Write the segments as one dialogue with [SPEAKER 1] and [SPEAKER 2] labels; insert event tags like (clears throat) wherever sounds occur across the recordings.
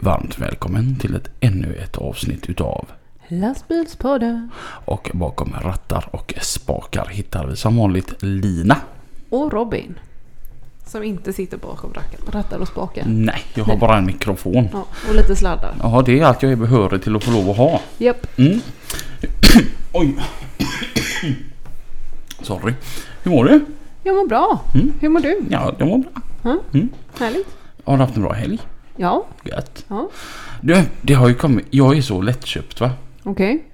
[SPEAKER 1] Varmt välkommen till ett, ännu ett avsnitt utav
[SPEAKER 2] Lastbilspodden
[SPEAKER 1] och bakom rattar och spakar hittar vi som vanligt Lina.
[SPEAKER 2] och Robin
[SPEAKER 3] som inte sitter bakom Mm. racken.
[SPEAKER 2] rattar och spakar.
[SPEAKER 1] Nej, jag har bara en mikrofon.
[SPEAKER 2] Ja, och lite sladdar.
[SPEAKER 1] Ja, det är allt jag är behörig till att få lov att ha.
[SPEAKER 2] Japp.
[SPEAKER 1] Mm. Oj. (coughs) Sorry. Hur mår du?
[SPEAKER 2] Jag mår bra.
[SPEAKER 1] Mm.
[SPEAKER 2] Hur mår du?
[SPEAKER 1] Ja, jag mår bra.
[SPEAKER 2] Härligt.
[SPEAKER 1] Har du haft en bra helg?
[SPEAKER 2] Ja,
[SPEAKER 1] Gött.
[SPEAKER 2] ja.
[SPEAKER 1] Du, det har ju kommit. Jag är så lättköpt va?
[SPEAKER 2] okej.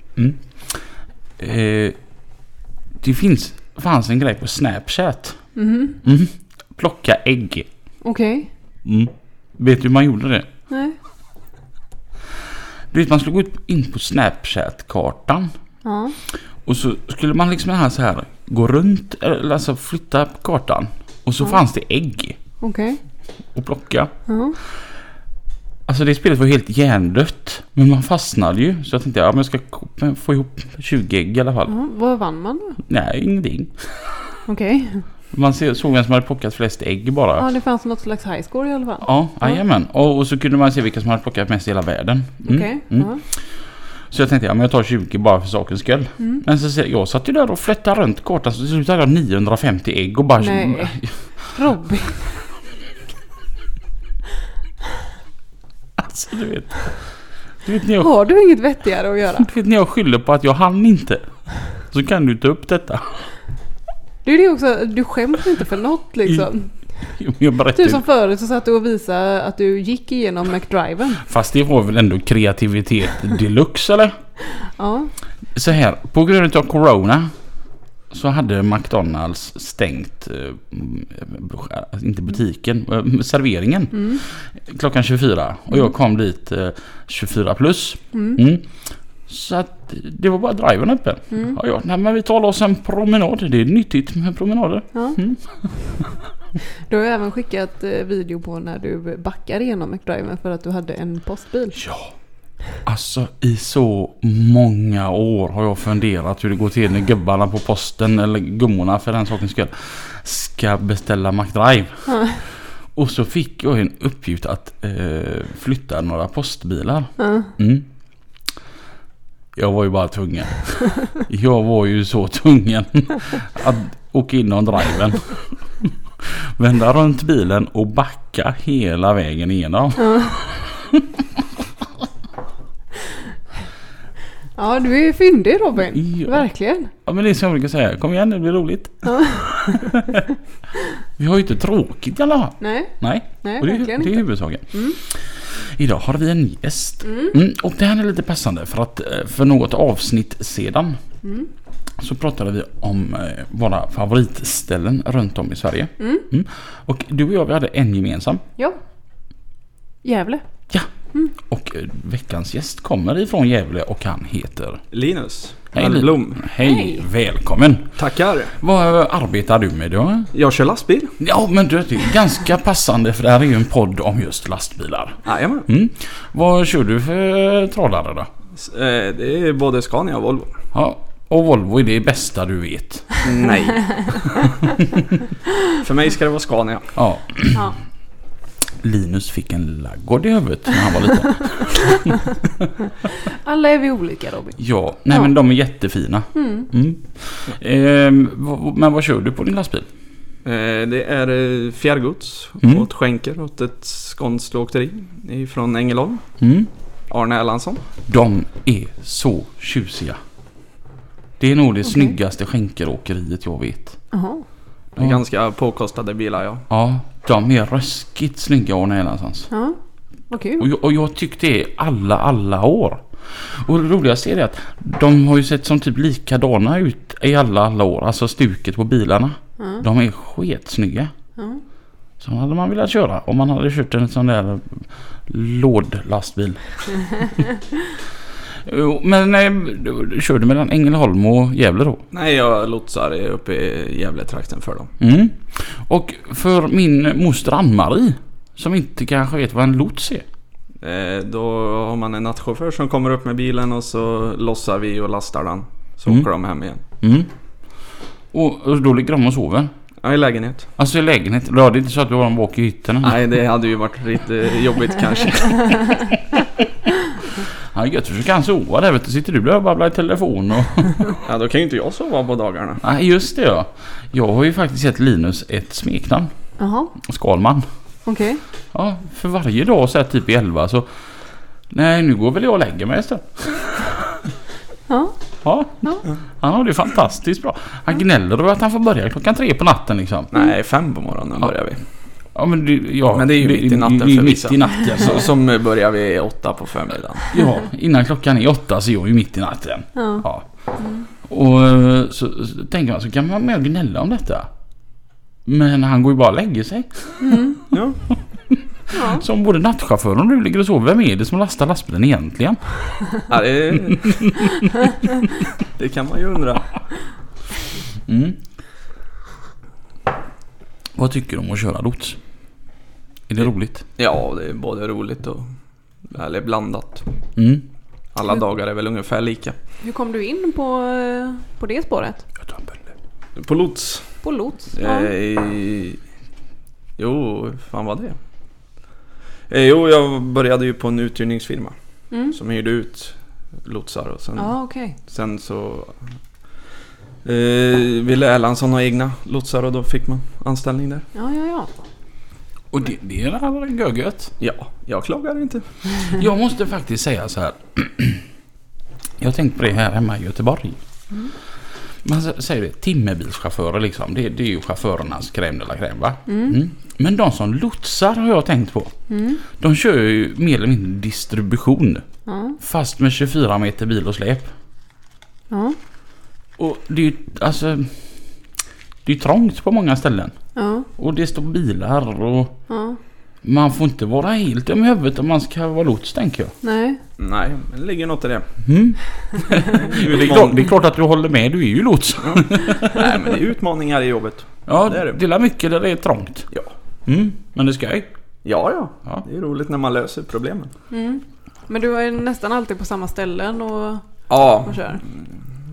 [SPEAKER 1] Eh, det finns, fanns en grej på Snapchat.
[SPEAKER 2] Mhm.
[SPEAKER 1] Mm. Plocka ägg.
[SPEAKER 2] Okej.
[SPEAKER 1] Mm. Vet du hur man gjorde det?
[SPEAKER 2] Nej.
[SPEAKER 1] Du vet man skulle gå ut- in på Snapchat-kartan.
[SPEAKER 2] Ja.
[SPEAKER 1] Och så skulle man liksom här så här gå runt, eller alltså flytta på kartan. Och så fanns det ägg
[SPEAKER 2] Okej.
[SPEAKER 1] att plocka.
[SPEAKER 2] Ja.
[SPEAKER 1] Alltså det spelet var helt hjärndött. Men man fastnade ju. Så jag tänkte ja, men jag ska ko- få ihop 20 ägg i alla fall.
[SPEAKER 2] ja. Vad vann man då?
[SPEAKER 1] Nej, ingenting.
[SPEAKER 2] Okej.
[SPEAKER 1] Man se- såg vem som hade plockat flest ägg bara.
[SPEAKER 2] Ja, det fanns något slags high score i alla fall.
[SPEAKER 1] Ja, jajamän. Och, och så kunde man se vilka som hade plockat mest i hela världen. Mm.
[SPEAKER 2] Okej.
[SPEAKER 1] Mm.
[SPEAKER 2] Ja.
[SPEAKER 1] Så jag tänkte, ja men jag tar 20 bara för sakens skull.
[SPEAKER 2] Mm.
[SPEAKER 1] Men så ser jag, jag satt ju där och flättade runt kartan så till slut hade jag 950 ägg och bara... (laughs)
[SPEAKER 2] Nej. Robin.
[SPEAKER 1] Alltså du vet. Du vet, när jag,
[SPEAKER 2] Har du inget vettigare att göra?
[SPEAKER 1] du vet när jag skyller på att jag hann inte. Så kan du ta upp detta. (laughs)
[SPEAKER 2] Det är det också, du skäms inte för något liksom.
[SPEAKER 1] Jag berättar
[SPEAKER 2] Du
[SPEAKER 1] ju.
[SPEAKER 2] som förut så satt du och visade att du gick igenom McDriven.
[SPEAKER 1] Fast det var väl ändå kreativitet deluxe eller?
[SPEAKER 2] Ja.
[SPEAKER 1] Så här, på grund av Corona så hade McDonalds stängt, eh, m- eh, inte butiken, eh, serveringen
[SPEAKER 2] mm,
[SPEAKER 1] klockan 24. Och jag kom dit eh, 24 plus. Mm. Så att det var bara driven öppen.
[SPEAKER 2] mm.
[SPEAKER 1] Och jag, nej men vi tar oss en promenad. Det är nyttigt med promenader.
[SPEAKER 2] Ja. Du har ju även skickat eh, video på när du backar igenom McDriven för att du hade en postbil.
[SPEAKER 1] Ja. Alltså i så många år har jag funderat hur det går till när gubbarna på posten eller gummorna för den sakens skull ska beställa McDrive. Och så fick jag en uppgift att eh, flytta några postbilar. Mm. Jag var ju bara tvungen. Jag var ju så tvungen att åka inom driven. Vända runt bilen och backa hela vägen igenom.
[SPEAKER 2] Ja, du är ju fyndig Robin.
[SPEAKER 1] Ja.
[SPEAKER 2] Verkligen.
[SPEAKER 1] Ja men det är som jag brukar säga, kom igen nu blir det roligt. (laughs) vi har ju inte tråkigt i alla fall.
[SPEAKER 2] Nej,
[SPEAKER 1] Nej,
[SPEAKER 2] nej
[SPEAKER 1] och det, är-
[SPEAKER 2] verkligen
[SPEAKER 1] det är
[SPEAKER 2] inte.
[SPEAKER 1] huvudsaken. Idag har vi en gäst. Mm, och det här är lite passande för att eh, för något avsnitt sedan så pratade vi om eh, våra favoritställen runt om i Sverige. Mm. Och du och jag vi hade en gemensam.
[SPEAKER 2] Ja. Gävle.
[SPEAKER 1] Ja. Och eh, veckans gäst kommer ifrån Gävle och han heter...
[SPEAKER 4] Linus
[SPEAKER 1] Hej,
[SPEAKER 4] Hej, Blom.
[SPEAKER 1] Hej, välkommen!
[SPEAKER 4] Tackar.
[SPEAKER 1] Vad arbetar du med då?
[SPEAKER 4] Jag kör lastbil.
[SPEAKER 1] Ja men du, det är ganska passande för det här är ju en podd om just lastbilar.
[SPEAKER 4] Jajamän.
[SPEAKER 1] Mm. Vad kör du för trålare då?
[SPEAKER 4] S- eh, Det är både Scania och Volvo.
[SPEAKER 1] Ja, och Volvo är det bästa du vet. (laughs)
[SPEAKER 4] Nej. För mig ska det vara Scania.
[SPEAKER 1] Ja.
[SPEAKER 2] Ja.
[SPEAKER 1] Linus fick en laggård i huvudet när han var liten.
[SPEAKER 2] Alla är vi olika Robin.
[SPEAKER 1] Ja, nej men de är jättefina. Mm. Ehm, vad- men vad kör du på din lastbil?
[SPEAKER 4] Eh, Det är eh, fjärrgods
[SPEAKER 1] Mm.
[SPEAKER 4] åt skänker åt ett skånskt åkeri från Ängelholm.
[SPEAKER 1] Mm.
[SPEAKER 4] Arne Erlandsson.
[SPEAKER 1] De är så tjusiga. Det är nog det snyggaste skänkeråkeriet jag vet.
[SPEAKER 2] Jaha.
[SPEAKER 4] Det är
[SPEAKER 1] Ja.
[SPEAKER 4] ganska påkostade bilar ja.
[SPEAKER 1] Ja, de är ruskigt snygga Arne Erlandssons.
[SPEAKER 2] Ja. Vad kul.
[SPEAKER 1] Och jag, och jag tyckte det alla, alla år. Och det roligaste är det att de har ju sett som typ likadana ut i alla, alla år. Alltså stuket på bilarna.
[SPEAKER 2] Ja.
[SPEAKER 1] De är sketsnygga.
[SPEAKER 2] Ja.
[SPEAKER 1] Sådana hade man velat köra om man hade köpt en sån där
[SPEAKER 2] (laughs)
[SPEAKER 1] lådlastbil. Jo, Men nej, du- du körde mellan Ängelholm och Gävle då?
[SPEAKER 4] Nej, jag lotsar uppe i Gävletrakten för dem.
[SPEAKER 1] Mm. Och för min moster Ann-Marie som inte kanske vet vad en lots är.
[SPEAKER 4] Eh, Då har man en nattchaufför som kommer upp med bilen och så lossar vi och lastar den. Så
[SPEAKER 1] Mm.
[SPEAKER 4] åker de hem igen.
[SPEAKER 1] Mm. Och, och då ligger de och sover.
[SPEAKER 4] Ja, i lägenhet.
[SPEAKER 1] Alltså i lägenhet. Ja, det är inte så att du har dem bak i hytten.
[SPEAKER 4] Nej, det hade ju varit lite jobbigt kanske.
[SPEAKER 1] Ja, gött för så kan han sova där vet du. Sitter du där och babblar i telefon och...
[SPEAKER 4] (laughs)
[SPEAKER 1] (laughs)
[SPEAKER 4] Ja, då kan ju inte jag sova på dagarna.
[SPEAKER 1] Nej, just det ja. Jag har ju faktiskt gett Linus ett smeknamn.
[SPEAKER 2] Jaha,
[SPEAKER 1] Skalman.
[SPEAKER 2] okej.
[SPEAKER 1] Ja, för varje dag så här typ i elva så... Nej, nu går väl jag och lägger mig en stund.
[SPEAKER 2] Ja.
[SPEAKER 1] Ja.
[SPEAKER 2] Ja.
[SPEAKER 1] Han har det ju fantastiskt bra. Han gnäller över att han får börja klockan tre på natten liksom.
[SPEAKER 4] Nej, fem på morgonen börjar vi.
[SPEAKER 1] Ja men det, ja,
[SPEAKER 4] Men det är ju mitt i natten
[SPEAKER 1] det är ju
[SPEAKER 4] för
[SPEAKER 1] mitt
[SPEAKER 4] vissa.
[SPEAKER 1] i natten. Så,
[SPEAKER 4] Så, som börjar vi åtta på förmiddagen.
[SPEAKER 1] ja, innan klockan är åtta så är jag ju mitt i natten.
[SPEAKER 2] Ja.
[SPEAKER 1] Ja. Och eh, så, så tänker man så kan man vara med och gnälla om detta. Men han går ju bara och lägger sig. (laughs)
[SPEAKER 4] Ja.
[SPEAKER 1] Så om både nattchauffören och du ligger och sover, vem är det som lastar lastbilen egentligen?
[SPEAKER 4] Ja, det, (laughs) det kan man ju undra.
[SPEAKER 1] Mm. Vad tycker du om att köra lots? Är det roligt?
[SPEAKER 4] Ja, det är både roligt och eller blandat.
[SPEAKER 1] Mm.
[SPEAKER 4] Alla dagar är väl ungefär lika.
[SPEAKER 2] Hur kom du in på, eh, på det spåret?
[SPEAKER 1] Jag tar en bulle.
[SPEAKER 4] På lots?
[SPEAKER 2] På lots?
[SPEAKER 4] Eh, i- jo, hur fan var det? Eh, jo, jag började ju på en uthyrningsfirma
[SPEAKER 2] Mm.
[SPEAKER 4] som hyrde ut lotsar och sen,
[SPEAKER 2] Ja, okej.
[SPEAKER 4] sen så eh, ville Erlandsson ha egna lotsar och då fick man anställning där.
[SPEAKER 2] Ja, ja, ja.
[SPEAKER 1] Och det, det är allra gögött.
[SPEAKER 4] Ja, jag klagar inte.
[SPEAKER 1] Jag måste faktiskt säga så här. (clears throat) Jag har tänkt på det här hemma i Göteborg. Man s- säger det, timmerbilschaufförer liksom. Det, det är ju chaufförernas crème de la crème va? Mm. Men de som lotsar har jag tänkt på.
[SPEAKER 2] Mm.
[SPEAKER 1] De kör ju mer eller mindre distribution.
[SPEAKER 2] Ja,
[SPEAKER 1] Fast med 24 meter bil och släp.
[SPEAKER 2] ja.
[SPEAKER 1] Och det är ju alltså... Det är ju trångt på många ställen.
[SPEAKER 2] ja.
[SPEAKER 1] Och det står bilar och...
[SPEAKER 2] ja.
[SPEAKER 1] Man får inte vara helt dum i huvudet om man ska vara lots tänker jag.
[SPEAKER 2] Nej.
[SPEAKER 4] Nej, men det ligger något i det. (laughs)
[SPEAKER 1] Mm.
[SPEAKER 4] Utman-
[SPEAKER 1] Det är, klart, det är klart att du håller med, du är ju lots.
[SPEAKER 4] (laughs) Nej, men det är utmaningar i jobbet.
[SPEAKER 1] Ja,
[SPEAKER 4] det är det.
[SPEAKER 1] det är mycket där det är trångt.
[SPEAKER 4] Ja.
[SPEAKER 1] Mm, men det ska ju.
[SPEAKER 4] Ja, ja.
[SPEAKER 1] Ja.
[SPEAKER 4] Det är roligt när man löser problemen.
[SPEAKER 2] Mm. Men du är nästan alltid på samma ställen och,
[SPEAKER 4] Ja,
[SPEAKER 2] och kör?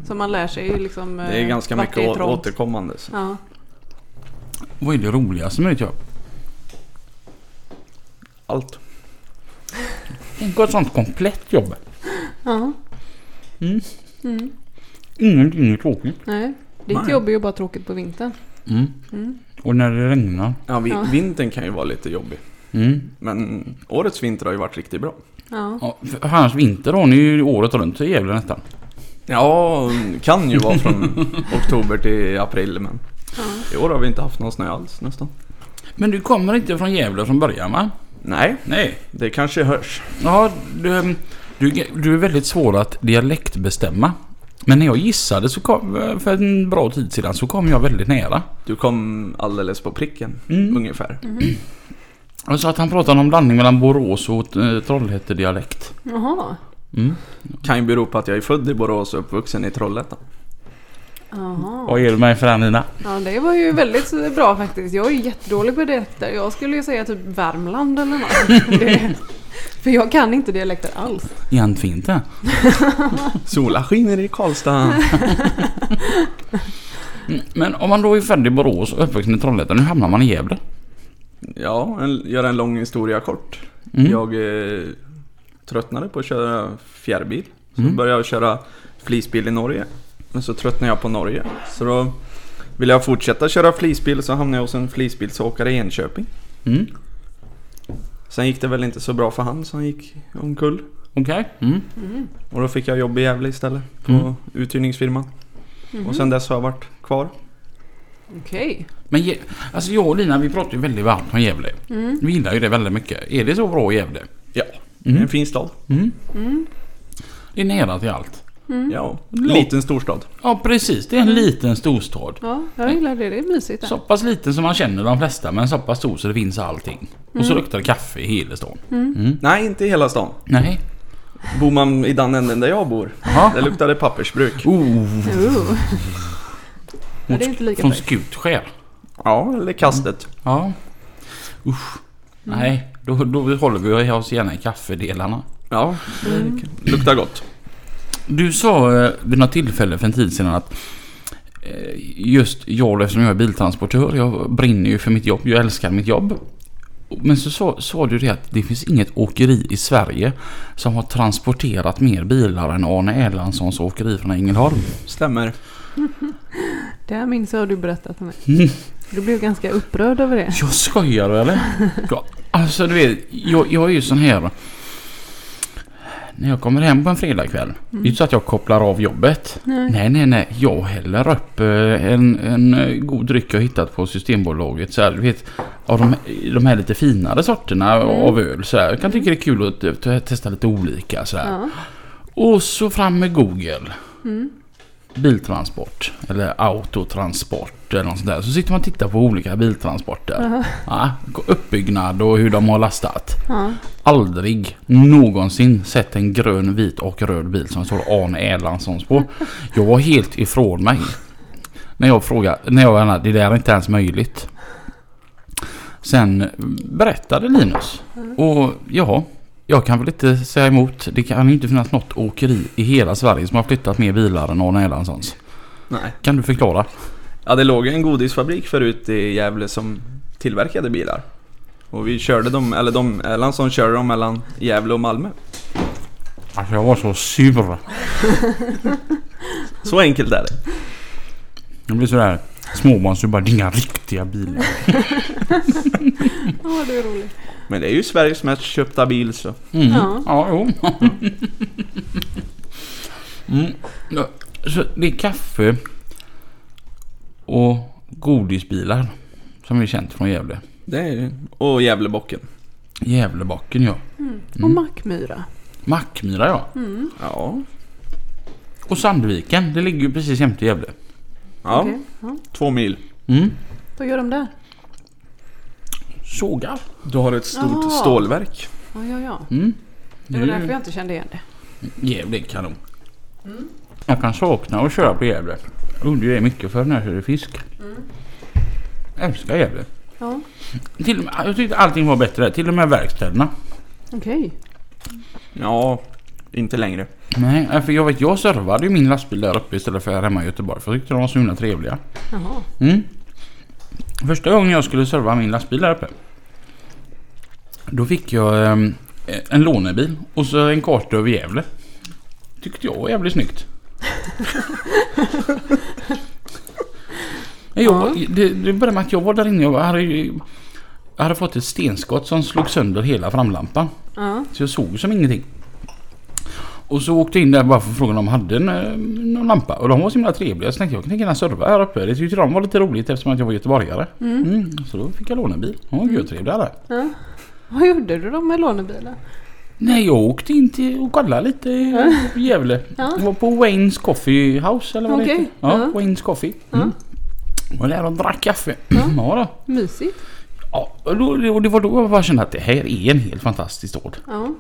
[SPEAKER 2] Så man lär sig ju liksom eh,
[SPEAKER 4] det är ganska
[SPEAKER 2] vart
[SPEAKER 4] mycket
[SPEAKER 2] det är
[SPEAKER 4] å-
[SPEAKER 2] trångt.
[SPEAKER 4] återkommande. Så.
[SPEAKER 2] Ja.
[SPEAKER 1] Vad är det roligaste med ditt jobb?
[SPEAKER 4] Allt.
[SPEAKER 1] Tänk att ha ett sånt komplett jobb.
[SPEAKER 2] ja.
[SPEAKER 1] Mm.
[SPEAKER 2] Mm.
[SPEAKER 1] Ingenting är tråkigt.
[SPEAKER 2] Nej. Ditt
[SPEAKER 4] Nej.
[SPEAKER 2] jobb är ju bara tråkigt på vintern.
[SPEAKER 1] Mm.
[SPEAKER 2] Mm.
[SPEAKER 1] Och när det regnar.
[SPEAKER 4] Ja, vi,
[SPEAKER 2] Ja.
[SPEAKER 4] Vintern kan ju vara lite jobbig.
[SPEAKER 1] Mm.
[SPEAKER 4] Men årets vinter har ju varit riktigt bra.
[SPEAKER 2] Ja.
[SPEAKER 1] Ja, för hans vinter har ni ju året runt i Gävle nästan.
[SPEAKER 4] Ja, kan ju vara (laughs) från oktober till april men
[SPEAKER 2] ja.
[SPEAKER 4] i år har vi inte haft någon snö alls nästan.
[SPEAKER 1] Men du kommer inte från Gävle från början va?
[SPEAKER 4] Nej,
[SPEAKER 1] Nej.
[SPEAKER 4] det kanske hörs.
[SPEAKER 1] Ja, du, ehm, du, du är väldigt svår att dialektbestämma. Men när jag gissade så kom, för en bra tid sedan så kom jag väldigt nära.
[SPEAKER 4] Du kom alldeles på pricken
[SPEAKER 1] Mm.
[SPEAKER 4] ungefär.
[SPEAKER 1] Han sa att han pratade om blandning mellan Borås och eh, Trollhätte-dialekt.
[SPEAKER 2] Jaha.
[SPEAKER 1] Mm.
[SPEAKER 4] Kan ju bero på att jag är född i Borås och uppvuxen i Trollhättan.
[SPEAKER 2] Jaha.
[SPEAKER 1] Vad ger du mig för den Nina?
[SPEAKER 2] Ja, det var ju väldigt bra faktiskt. Jag är ju jättedålig på dialekter. Jag skulle ju säga typ Värmland eller
[SPEAKER 4] (laughs)
[SPEAKER 2] något. Det, för jag kan inte dialekter alls.
[SPEAKER 1] Egentligen inte.
[SPEAKER 4] Sola skiner
[SPEAKER 1] (laughs)
[SPEAKER 4] i Karlstad.
[SPEAKER 1] Mm, Men om man då är född i Borås och uppvuxen i Trollhättan, hur hamnar man i Gävle?
[SPEAKER 4] Ja, en, göra en lång historia kort.
[SPEAKER 1] Mm.
[SPEAKER 4] Jag eh, tröttnade på att köra fjärrbil. Så
[SPEAKER 1] Mm.
[SPEAKER 4] började jag köra flisbil i Norge. Men så tröttnade jag på Norge. Så då ville jag fortsätta köra flisbil så hamnade jag hos en flisbilsåkare i Enköping.
[SPEAKER 1] Mm.
[SPEAKER 4] Sen gick det väl inte så bra för han så han gick omkull.
[SPEAKER 1] Okej. Mm.
[SPEAKER 4] Och då fick jag jobb i Gävle istället på
[SPEAKER 1] Mm.
[SPEAKER 4] uthyrningsfirman. Och sen dess har jag varit kvar.
[SPEAKER 2] Okej.
[SPEAKER 1] Men Gä- alltså jag och Lina vi pratar ju väldigt varmt om Gävle. Vi gillar ju det väldigt mycket. Är det så bra i Gävle?
[SPEAKER 4] Ja,
[SPEAKER 1] Mm.
[SPEAKER 4] en fin stad.
[SPEAKER 1] Mm. Det är nära till allt.
[SPEAKER 2] Mm.
[SPEAKER 4] Ja, liten storstad.
[SPEAKER 1] Ja precis, det är en liten storstad.
[SPEAKER 2] Ja, jag gillar det. Det är mysigt där.
[SPEAKER 1] Så pass liten som man känner de flesta men så pass stor så det finns allting. Och så luktar det kaffe i hela stan. Mm.
[SPEAKER 4] Nej, inte i hela stan.
[SPEAKER 1] Nej.
[SPEAKER 4] Bor man i den änden där jag bor,
[SPEAKER 1] Jaha.
[SPEAKER 4] där luktar det pappersbruk.
[SPEAKER 1] Oh,
[SPEAKER 2] Oh. Ja, det är inte lika
[SPEAKER 1] från
[SPEAKER 2] fräckt.
[SPEAKER 1] Skutskär.
[SPEAKER 4] Ja, eller kastet.
[SPEAKER 1] Ja. Usch. Nej, då, då håller vi oss gärna i kaffedelarna.
[SPEAKER 4] Ja, det luktar gott.
[SPEAKER 1] Du sa eh, vid något tillfälle för en tid sedan att eh, just jag eftersom jag är biltransportör, jag brinner ju för mitt jobb, jag älskar mitt jobb. Men så sa, sa du det att det finns inget åkeri i Sverige som har transporterat mer bilar än Arne Erlandssons åkeri från Ängelholm.
[SPEAKER 4] Stämmer.
[SPEAKER 2] Det här minns jag du berättat för mig. Du blev ganska upprörd över det.
[SPEAKER 1] Jag skojar eller? Ja, alltså du vet, jag, jag är ju sån här. När jag kommer hem på en fredagkväll. Det är ju inte så att jag kopplar av jobbet.
[SPEAKER 2] Nej.
[SPEAKER 1] Nej, nej, nej. Jag häller upp eh, en, en eh, god dryck jag hittat på Systembolaget. Så här, du vet, av de, de här lite finare sorterna
[SPEAKER 2] Mm.
[SPEAKER 1] av öl. Så här. Jag kan tycka det är kul att eh, te- testa lite olika. Så här.
[SPEAKER 2] Ja.
[SPEAKER 1] Och så fram med Google. Biltransport eller autotransport eller något sånt där. Så sitter man och tittar på olika biltransporter. Ja, uppbyggnad och hur de har lastat.
[SPEAKER 2] Ja.
[SPEAKER 1] Aldrig någonsin sett en grön, vit och röd bil som står Arne Erlandssons på. Jag var helt ifrån mig. När jag frågade, när jag var det där är inte ens möjligt. Sen berättade Linus. Och ja, jag kan väl inte säga emot. Det kan ju inte finnas något åkeri i hela Sverige som har flyttat mer bilar än Arne Erlandssons.
[SPEAKER 4] Nej.
[SPEAKER 1] Kan du förklara?
[SPEAKER 4] Ja, det låg en godisfabrik förut i Gävle som tillverkade bilar. Och vi körde dem, eller de, Erlandsson körde dem mellan Gävle och Malmö.
[SPEAKER 1] Alltså jag var så sur.
[SPEAKER 4] Så enkelt är det.
[SPEAKER 1] Jag blir sådär småbarns, du bara det är inga riktiga bilar.
[SPEAKER 2] (laughs) Ja, det är roligt.
[SPEAKER 4] Men det är ju Sveriges mest köpta bil så.
[SPEAKER 1] Mm.
[SPEAKER 2] Ja.
[SPEAKER 1] Ja. jo. (laughs) mm. Ja, Så det är kaffe och godisbilar som vi känt från Gävle.
[SPEAKER 4] Det är, och Gävlebocken.
[SPEAKER 1] Gävlebacken ja.
[SPEAKER 2] Och Mackmyra.
[SPEAKER 1] Mackmyra ja.
[SPEAKER 2] Mm.
[SPEAKER 4] Ja.
[SPEAKER 1] Och Sandviken, det ligger ju precis jämte Gävle.
[SPEAKER 4] Ja,
[SPEAKER 2] Okej, ja.
[SPEAKER 4] två mil.
[SPEAKER 1] Mm.
[SPEAKER 2] Vad gör de där?
[SPEAKER 1] Sågar.
[SPEAKER 4] Du har ett stort
[SPEAKER 2] Jaha.
[SPEAKER 4] stålverk.
[SPEAKER 2] Ja, ja, ja.
[SPEAKER 1] Mm.
[SPEAKER 2] Det var därför jag inte kände igen det.
[SPEAKER 1] Gävle är kanon. Jag kan sakna att köra på Gävle. Jag gjorde ju det mycket förr när jag körde fisk. Älskar Gävle.
[SPEAKER 2] Ja,
[SPEAKER 1] Till och med, jag tyckte allting var bättre där. Till och med verkstäderna.
[SPEAKER 2] okej.
[SPEAKER 4] Ja, inte längre.
[SPEAKER 1] Nej, för jag vet jag servade ju min lastbil där uppe istället för här hemma i Göteborg. För jag tyckte de var så himla trevliga.
[SPEAKER 2] Jaha.
[SPEAKER 1] Mm. Första gången jag skulle serva min lastbil där uppe. Då fick jag ehm, en lånebil och så en karta över Gävle. Tyckte jag var jävligt snyggt. jag, det, det började med att jag var där inne och jag hade, ju- jag hade fått ett stenskott som slog sönder hela framlampan.
[SPEAKER 2] Ja.
[SPEAKER 1] Så jag såg som ingenting. Och så åkte jag in där bara för att fråga om de hade en, eh, någon lampa. Och de var så himla trevliga så tänkte jag jag kan gärna serva här uppe. Det tyckte de var lite roligt eftersom att jag var göteborgare. Mm. så då fick jag låna en bil. De
[SPEAKER 2] Mm.
[SPEAKER 1] var görtrevliga där.
[SPEAKER 2] ja. Vad gjorde du då med lånebilen?
[SPEAKER 1] Nej jag åkte in till och kollade lite i Gävle.
[SPEAKER 2] Ja.
[SPEAKER 1] Jag var på Wayne's Coffee House eller vad det
[SPEAKER 2] Okej.
[SPEAKER 1] heter. Ja,
[SPEAKER 2] Ja.
[SPEAKER 1] Wayne's Coffee. Mm. Var där och drack kaffe. Ja, då.
[SPEAKER 2] Mysigt.
[SPEAKER 1] Ja, och då, och det var då jag bara kände att det här är en helt fantastisk stad.
[SPEAKER 2] Ja.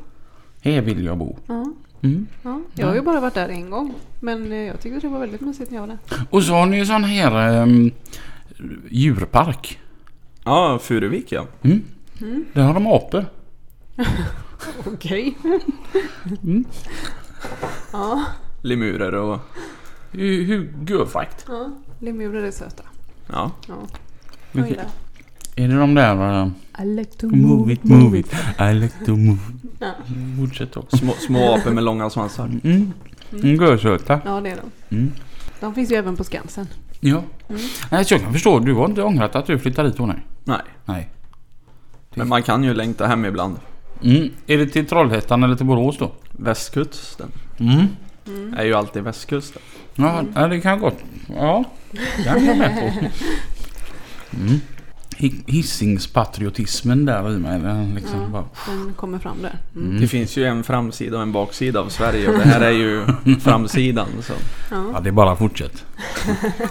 [SPEAKER 1] Här vill jag bo.
[SPEAKER 2] ja.
[SPEAKER 1] Mm.
[SPEAKER 2] ja. Jag har ju bara varit där en gång. Men eh, jag tyckte det var väldigt mysigt när jag var där.
[SPEAKER 1] Och så har ni ju sån här ehm, djurpark.
[SPEAKER 4] Ja, Furuvik ja.
[SPEAKER 1] Mm. Där har de apor.
[SPEAKER 2] (laughs) Okej.
[SPEAKER 1] Mm.
[SPEAKER 2] Ja.
[SPEAKER 4] Lemurer och...
[SPEAKER 1] Det är ju Hur görfakt.
[SPEAKER 2] ja. Lemurer är söta.
[SPEAKER 4] Ja.
[SPEAKER 2] Ja. Jag
[SPEAKER 1] Okej.
[SPEAKER 2] gillar.
[SPEAKER 1] Är det de där... eh,
[SPEAKER 2] I like to
[SPEAKER 1] move it, move it. I like to move.
[SPEAKER 2] Ja.
[SPEAKER 1] Fortsätt också.
[SPEAKER 4] Små, små apor med långa svansar.
[SPEAKER 1] Mm. Mm. Görsöta.
[SPEAKER 2] Ja, det är de.
[SPEAKER 1] Mm.
[SPEAKER 2] De finns ju även på Skansen.
[SPEAKER 1] Ja.
[SPEAKER 2] Mm.
[SPEAKER 1] Nej, så jag kan förstå. Du har inte ångrat att du flyttade hit Tony?
[SPEAKER 4] Nej,
[SPEAKER 1] Nej.
[SPEAKER 4] men man kan ju längta hem ibland.
[SPEAKER 1] Mm. Är det till Trollhättan eller till Borås då?
[SPEAKER 4] Västkusten
[SPEAKER 1] Mm.
[SPEAKER 4] är ju alltid västkusten.
[SPEAKER 2] (laughs)
[SPEAKER 1] Ja, ja, det kan jag gott. Ja, det kan jag med på. Mm. Hi- Hisingspatriotismen där i mig. Den liksom
[SPEAKER 2] Ja.
[SPEAKER 1] bara,
[SPEAKER 2] Den kommer fram där. Mm.
[SPEAKER 1] mm.
[SPEAKER 4] Det finns ju en framsida och en baksida av Sverige och det här är (laughs) ju framsidan. Så.
[SPEAKER 1] Ja, det är bara fortsätt.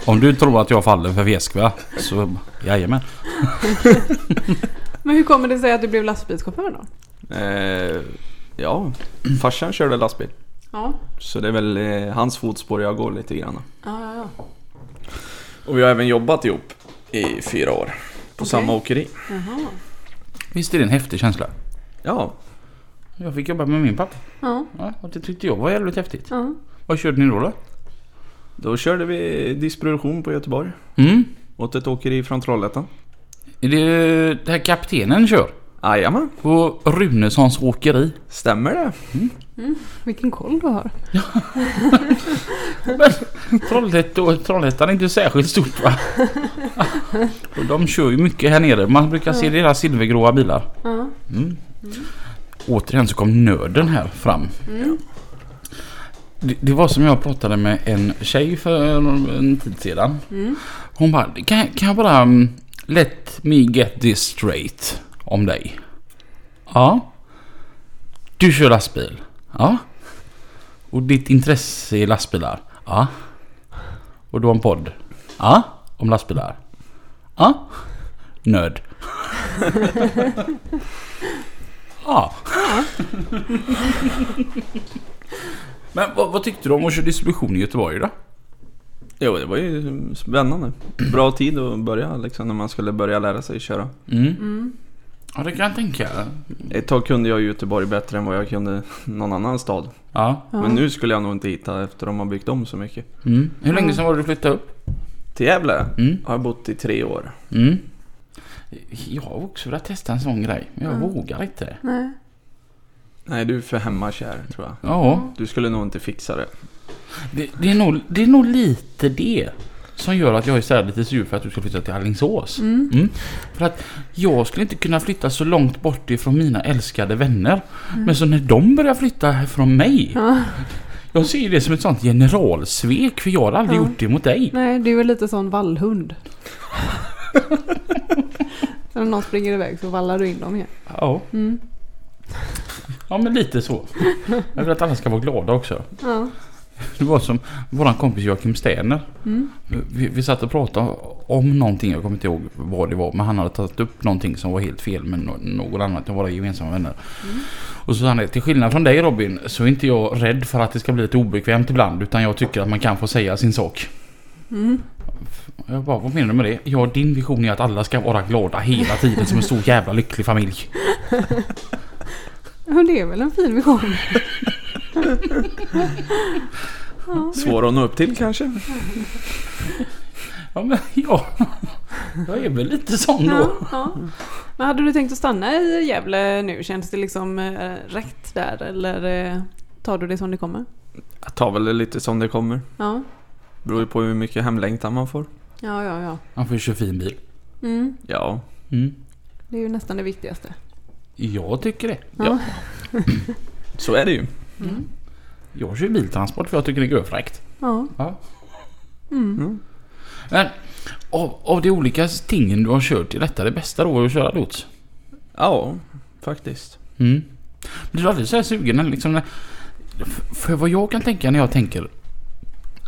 [SPEAKER 1] Om du tror att jag faller för fjäskva så jajamän.
[SPEAKER 2] Men hur kommer det sig att du blev lastbilschaufför då?
[SPEAKER 4] Eh, ja, farsan körde lastbil.
[SPEAKER 2] Ja,
[SPEAKER 4] Så det är väl eh, hans fotspår jag går lite grann.
[SPEAKER 2] ja, ja.
[SPEAKER 4] Och vi har även jobbat ihop i fyra år. På
[SPEAKER 2] Okej.
[SPEAKER 4] samma åkeri.
[SPEAKER 2] ja. Jaha.
[SPEAKER 1] Visst är det en häftig känsla?
[SPEAKER 4] Ja,
[SPEAKER 1] Jag fick jobba med min pappa.
[SPEAKER 2] Ja,
[SPEAKER 1] Ja, och det tyckte jag var jävligt häftigt.
[SPEAKER 2] ja.
[SPEAKER 1] Vad körde ni då då?
[SPEAKER 4] då körde vi distribution på Göteborg.
[SPEAKER 1] Mm.
[SPEAKER 4] Åt ett åkeri från Trollhättan.
[SPEAKER 1] Är det det här kaptenen kör?
[SPEAKER 4] Jajamän,
[SPEAKER 1] På Runessons åkeri.
[SPEAKER 4] stämmer det.
[SPEAKER 2] Vilken koll du har.
[SPEAKER 1] Men Trollhättan, Trollhättan är inte särskilt stort va? Och de kör ju mycket här nere. Man brukar se deras silvergråa bilar.
[SPEAKER 2] Ja.
[SPEAKER 1] Mm. Återigen så kom nörden här fram. Det, det var som jag pratade med en tjej för en tid sedan. Hon bara, kan, kan jag bara mm, let me get this straight om dig? Ja. Du kör lastbil? Ja. Och ditt intresse är lastbilar? Ja. Och du har en podd? Ja. Om lastbilar? Ja. Nörd. Ja. (laughs) Men vad, vad tyckte du om att köra distribution i Göteborg då?
[SPEAKER 4] Jo, det var ju spännande. Bra tid att börja liksom när man skulle börja lära sig köra.
[SPEAKER 1] Mm. Ja det kan jag tänka.
[SPEAKER 4] Ett tag kunde jag Göteborg bättre än vad jag kunde någon annan stad.
[SPEAKER 1] Ja.
[SPEAKER 4] Men nu skulle jag nog inte hitta efter de har byggt om så mycket.
[SPEAKER 1] Mm. Hur länge sedan var det du flyttade upp?
[SPEAKER 4] Till Gävle
[SPEAKER 1] Mm.
[SPEAKER 4] har jag bott i tre år.
[SPEAKER 1] Mm. Jag har också velat testa en sån grej men jag vågar inte.
[SPEAKER 2] Nej.
[SPEAKER 4] Nej, du är för hemmakär tror jag.
[SPEAKER 1] Ja.
[SPEAKER 4] Du skulle nog inte fixa det.
[SPEAKER 1] Det, det, är nog, det är nog lite det som gör att jag är så här lite sur för att du ska flytta till Alingsås. Mm. För att jag skulle inte kunna flytta så långt bort ifrån mina älskade vänner. Men så när de börjar flytta från mig. Jag ser ju det som ett sånt generalsvek för jag har aldrig
[SPEAKER 2] Ja.
[SPEAKER 1] gjort det mot dig.
[SPEAKER 2] Nej, du är lite sån
[SPEAKER 4] (laughs)
[SPEAKER 2] vallhund. Så När någon springer iväg så vallar du in dem igen.
[SPEAKER 1] Ja.
[SPEAKER 2] Mm.
[SPEAKER 1] ja men lite så. Jag vill att alla ska vara glada också.
[SPEAKER 2] Ja.
[SPEAKER 1] Det var som våran kompis Joakim Sterner.
[SPEAKER 2] Mm.
[SPEAKER 1] Vi, vi satt och pratade om någonting, jag kommer inte ihåg vad det var. Men han hade tagit upp någonting som var helt fel med no- någon annan av våra gemensamma vänner. Och så sa han det, till skillnad från dig Robin så är inte jag rädd för att det ska bli lite obekvämt ibland. Utan jag tycker att man kan få säga sin sak.
[SPEAKER 2] Mm.
[SPEAKER 1] Jag bara, vad menar du med det? Ja, din vision är att alla ska vara glada hela tiden som en stor jävla lycklig familj.
[SPEAKER 2] Och det är väl en fin vision?
[SPEAKER 4] Svår att nå upp till kanske?
[SPEAKER 1] Ja, men ja. (laughs) Jag är väl lite sån då.
[SPEAKER 2] Ja, ja. Men hade du tänkt att stanna i Gävle nu? Känns det liksom eh, rätt där eller eh, tar du det som det kommer?
[SPEAKER 4] Jag tar väl det lite som det kommer.
[SPEAKER 2] Ja,
[SPEAKER 4] Beror ju på hur mycket hemlängtan man får.
[SPEAKER 2] ja, ja. ja.
[SPEAKER 1] Han får ju köra fin bil.
[SPEAKER 2] Mm.
[SPEAKER 4] Ja,
[SPEAKER 1] Mm.
[SPEAKER 2] Det är ju nästan det viktigaste.
[SPEAKER 1] Jag tycker det.
[SPEAKER 4] Ja. så är det ju.
[SPEAKER 1] Jag kör biltransport för jag tycker det är görfräckt.
[SPEAKER 2] Ja.
[SPEAKER 1] Ja.
[SPEAKER 4] Mm.
[SPEAKER 1] Men av, av de olika tingen du har kört, är detta det bästa då att köra lots?
[SPEAKER 4] Ja, faktiskt.
[SPEAKER 1] Mm. Blir du aldrig så här sugen? eller Liksom, när- f- för vad jag kan tänka när jag tänker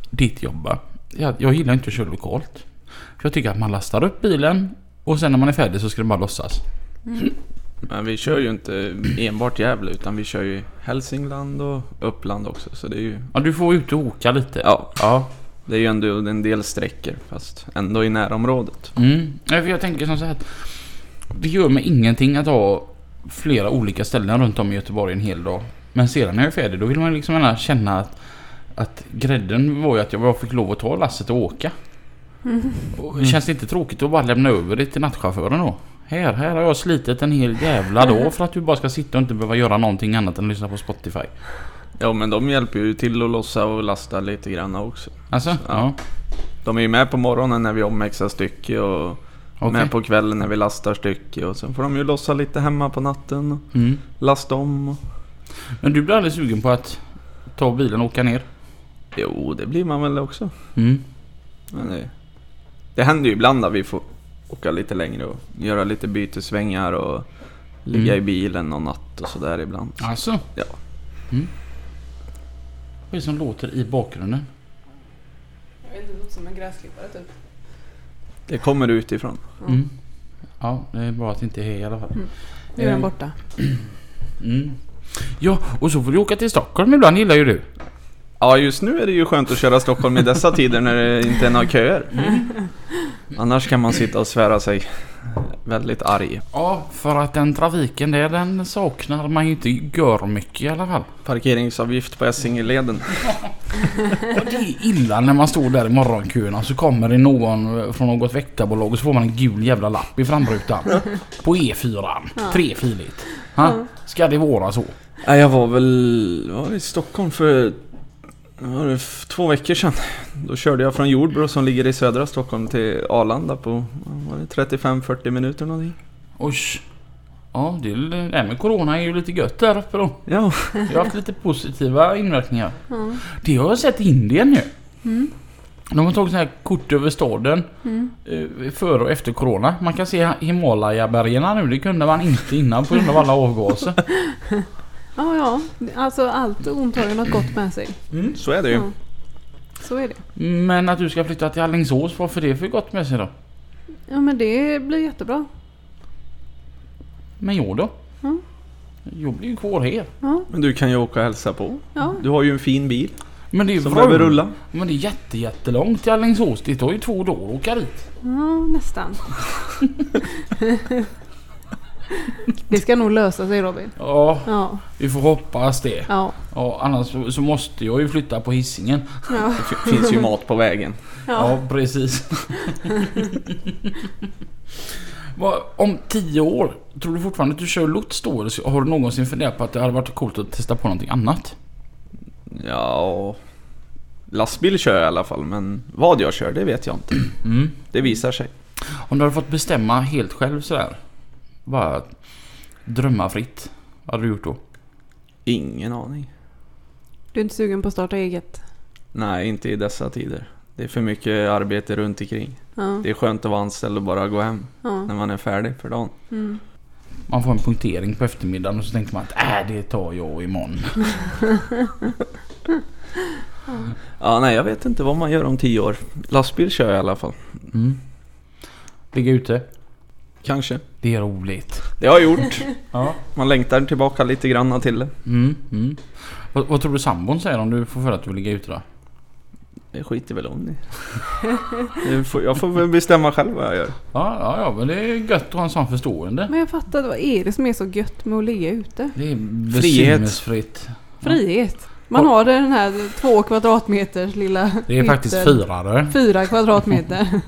[SPEAKER 1] ditt jobb va? jag, jag gillar inte att köra lokalt. För jag tycker att man lastar upp bilen och sen när man är färdig så ska den bara lossas.
[SPEAKER 4] Men vi kör ju inte enbart Gävle utan vi kör ju Hälsingland och Uppland också. Så det är ju,
[SPEAKER 1] Ja, du får ut och åka lite.
[SPEAKER 4] ja,
[SPEAKER 1] ja.
[SPEAKER 4] det är ju ändå en del sträckor fast ändå i närområdet.
[SPEAKER 1] Mm. Nej, för jag tänker som så här att det gör mig ingenting att ha flera olika ställen runt om i Göteborg en hel dag. Men sedan när jag är färdig då vill man liksom gärna känna att, att grädden var ju att jag bara fick lov att ta lasset och åka. Mm. Och känns det inte tråkigt att bara lämna över det till nattchauffören då? Här, här har jag slitit en hel jävla (laughs) dag för att du bara ska sitta och inte behöva göra någonting annat än lyssna på Spotify.
[SPEAKER 4] Ja men de hjälper ju till att lossa och lasta lite grann också.
[SPEAKER 1] Alltså? Ja.
[SPEAKER 4] De är ju med på morgonen när vi omväxlar stycke och
[SPEAKER 1] Okej.
[SPEAKER 4] med på kvällen när vi lastar stycke. Och sen får de ju lossa lite hemma på natten och
[SPEAKER 1] Mm.
[SPEAKER 4] lasta om. Och...
[SPEAKER 1] Men du blir aldrig sugen på att ta bilen och åka ner?
[SPEAKER 4] Jo, det blir man väl också.
[SPEAKER 1] Mm.
[SPEAKER 4] Men det, det händer ju ibland att vi får åka lite längre och göra lite bytesvängar och ligga
[SPEAKER 1] Mm.
[SPEAKER 4] i bilen någon natt och sådär ibland.
[SPEAKER 1] Alltså?
[SPEAKER 4] Ja.
[SPEAKER 1] Mm. Vad är det som låter i bakgrunden?
[SPEAKER 2] Jag vet inte, det låter som en gräsklippare typ.
[SPEAKER 4] Det kommer utifrån.
[SPEAKER 2] Mm.
[SPEAKER 1] Mm. Ja, det är bra att det inte är här i alla fall.
[SPEAKER 2] Mm. Nu är den
[SPEAKER 1] Eh,
[SPEAKER 2] borta.
[SPEAKER 1] Mm. Ja, och så får du åka till Stockholm ibland gillar ju du.
[SPEAKER 4] Ja, just nu är det ju skönt att köra Stockholm i dessa tider när det inte är några köer. Mm. Annars kan man sitta och svära sig väldigt arg.
[SPEAKER 1] Ja, för att den trafiken där den saknar man ju inte gör mycket i alla fall.
[SPEAKER 4] Parkeringsavgift på Essingeleden.
[SPEAKER 1] Och det är illa när man står där i morgonkön och så kommer det någon eh, från något väktarbolag och så får man en gul jävla lapp i framrutan. På E E4. Trefiligt. Ha? Ska det vara så?
[SPEAKER 4] Nej, jag var väl jag var i Stockholm för vad var det, f- två veckor sedan. Då körde jag från Jordbro som ligger i södra Stockholm till Arlanda på vad var det 35-40 minuter någonting.
[SPEAKER 1] Oj. Ja, det är, det här med Corona är ju lite gött där uppe då.
[SPEAKER 4] Ja,
[SPEAKER 1] Det har haft lite positiva inverkningar. Det har jag sett i Indien nu. De har tagit sådana här kort över staden. eh, Före och efter Corona. Man kan se Himalaya-bergen nu. Det kunde man inte innan på grund av alla avgaser.
[SPEAKER 2] Ja, ja. Alltså allt ont har ju något gott med sig.
[SPEAKER 4] så är det ju.
[SPEAKER 2] Ja. Så är det.
[SPEAKER 1] Men att du ska flytta till Alingsås, varför det för gott med sig då?
[SPEAKER 2] Ja, men det blir jättebra.
[SPEAKER 1] Men jag då?
[SPEAKER 2] Mm.
[SPEAKER 1] Jag blir ju kvar här.
[SPEAKER 2] Ja,
[SPEAKER 4] Men du kan ju åka och hälsa på.
[SPEAKER 2] ja.
[SPEAKER 4] Du har ju en fin bil
[SPEAKER 1] Men det är ju
[SPEAKER 4] som
[SPEAKER 1] vrum.
[SPEAKER 4] behöver rulla.
[SPEAKER 1] Men det är jätte, jättelångt till Alingsås. Det tar ju två dagar att åka dit.
[SPEAKER 2] Ja, (laughs) nästan. det ska nog lösa sig Robin.
[SPEAKER 1] Ja,
[SPEAKER 2] Ja,
[SPEAKER 1] vi får hoppas det.
[SPEAKER 2] ja,
[SPEAKER 1] Ja, annars så, så måste jag ju flytta på hissingen.
[SPEAKER 2] ja.
[SPEAKER 4] Det fi- finns ju mat på vägen.
[SPEAKER 1] Ja,
[SPEAKER 2] ja.
[SPEAKER 1] precis. Vad- Om tio år, tror du fortfarande att du kör lots då? Eller så- har du någonsin funderat på att det hade varit coolt att testa på någonting annat?
[SPEAKER 4] Ja, och lastbil kör jag i alla fall men vad jag kör det vet jag inte.
[SPEAKER 1] Mm.
[SPEAKER 4] Det visar sig.
[SPEAKER 1] Om du hade fått bestämma helt själv sådär. Bara drömma fritt. Vad hade du gjort då?
[SPEAKER 4] Ingen aning.
[SPEAKER 2] Du är inte sugen på att starta eget?
[SPEAKER 4] Nej, inte i dessa tider. Det är för mycket arbete runt omkring.
[SPEAKER 2] Ja,
[SPEAKER 4] Det är skönt att vara anställd och bara gå hem
[SPEAKER 2] ja.
[SPEAKER 4] när man är färdig för dagen.
[SPEAKER 2] Mm.
[SPEAKER 1] Man får en punktering på eftermiddagen och så tänker man att äh, det tar jag imorgon.
[SPEAKER 4] Ja, nej, jag vet inte vad man gör om tio år. Lastbil kör jag i alla fall.
[SPEAKER 1] Mm. Ligga ute.
[SPEAKER 4] Kanske.
[SPEAKER 1] Det är roligt.
[SPEAKER 4] Det har jag gjort.
[SPEAKER 1] Ja.
[SPEAKER 4] Man längtar tillbaka lite grann till det.
[SPEAKER 1] Mm, mm. Vad, vad tror du sambon säger om du får för att du vill ligga ute då?
[SPEAKER 4] Det skiter väl (laughs) hon i. Det får- Jag får väl bestämma själv vad jag gör.
[SPEAKER 1] Ja, ja, ja, men det är gött att ha en sån förstående.
[SPEAKER 2] Men jag fattar, inte, vad är det som är så gött med att ligga ute?
[SPEAKER 1] Det är
[SPEAKER 4] Frihet.
[SPEAKER 1] besinningsfritt.
[SPEAKER 2] Frihet. Man har den här två kvadratmeters lilla
[SPEAKER 1] Det är faktiskt
[SPEAKER 2] ytan.
[SPEAKER 1] firare.
[SPEAKER 2] Fyra
[SPEAKER 1] (laughs)
[SPEAKER 2] kvadratmeter.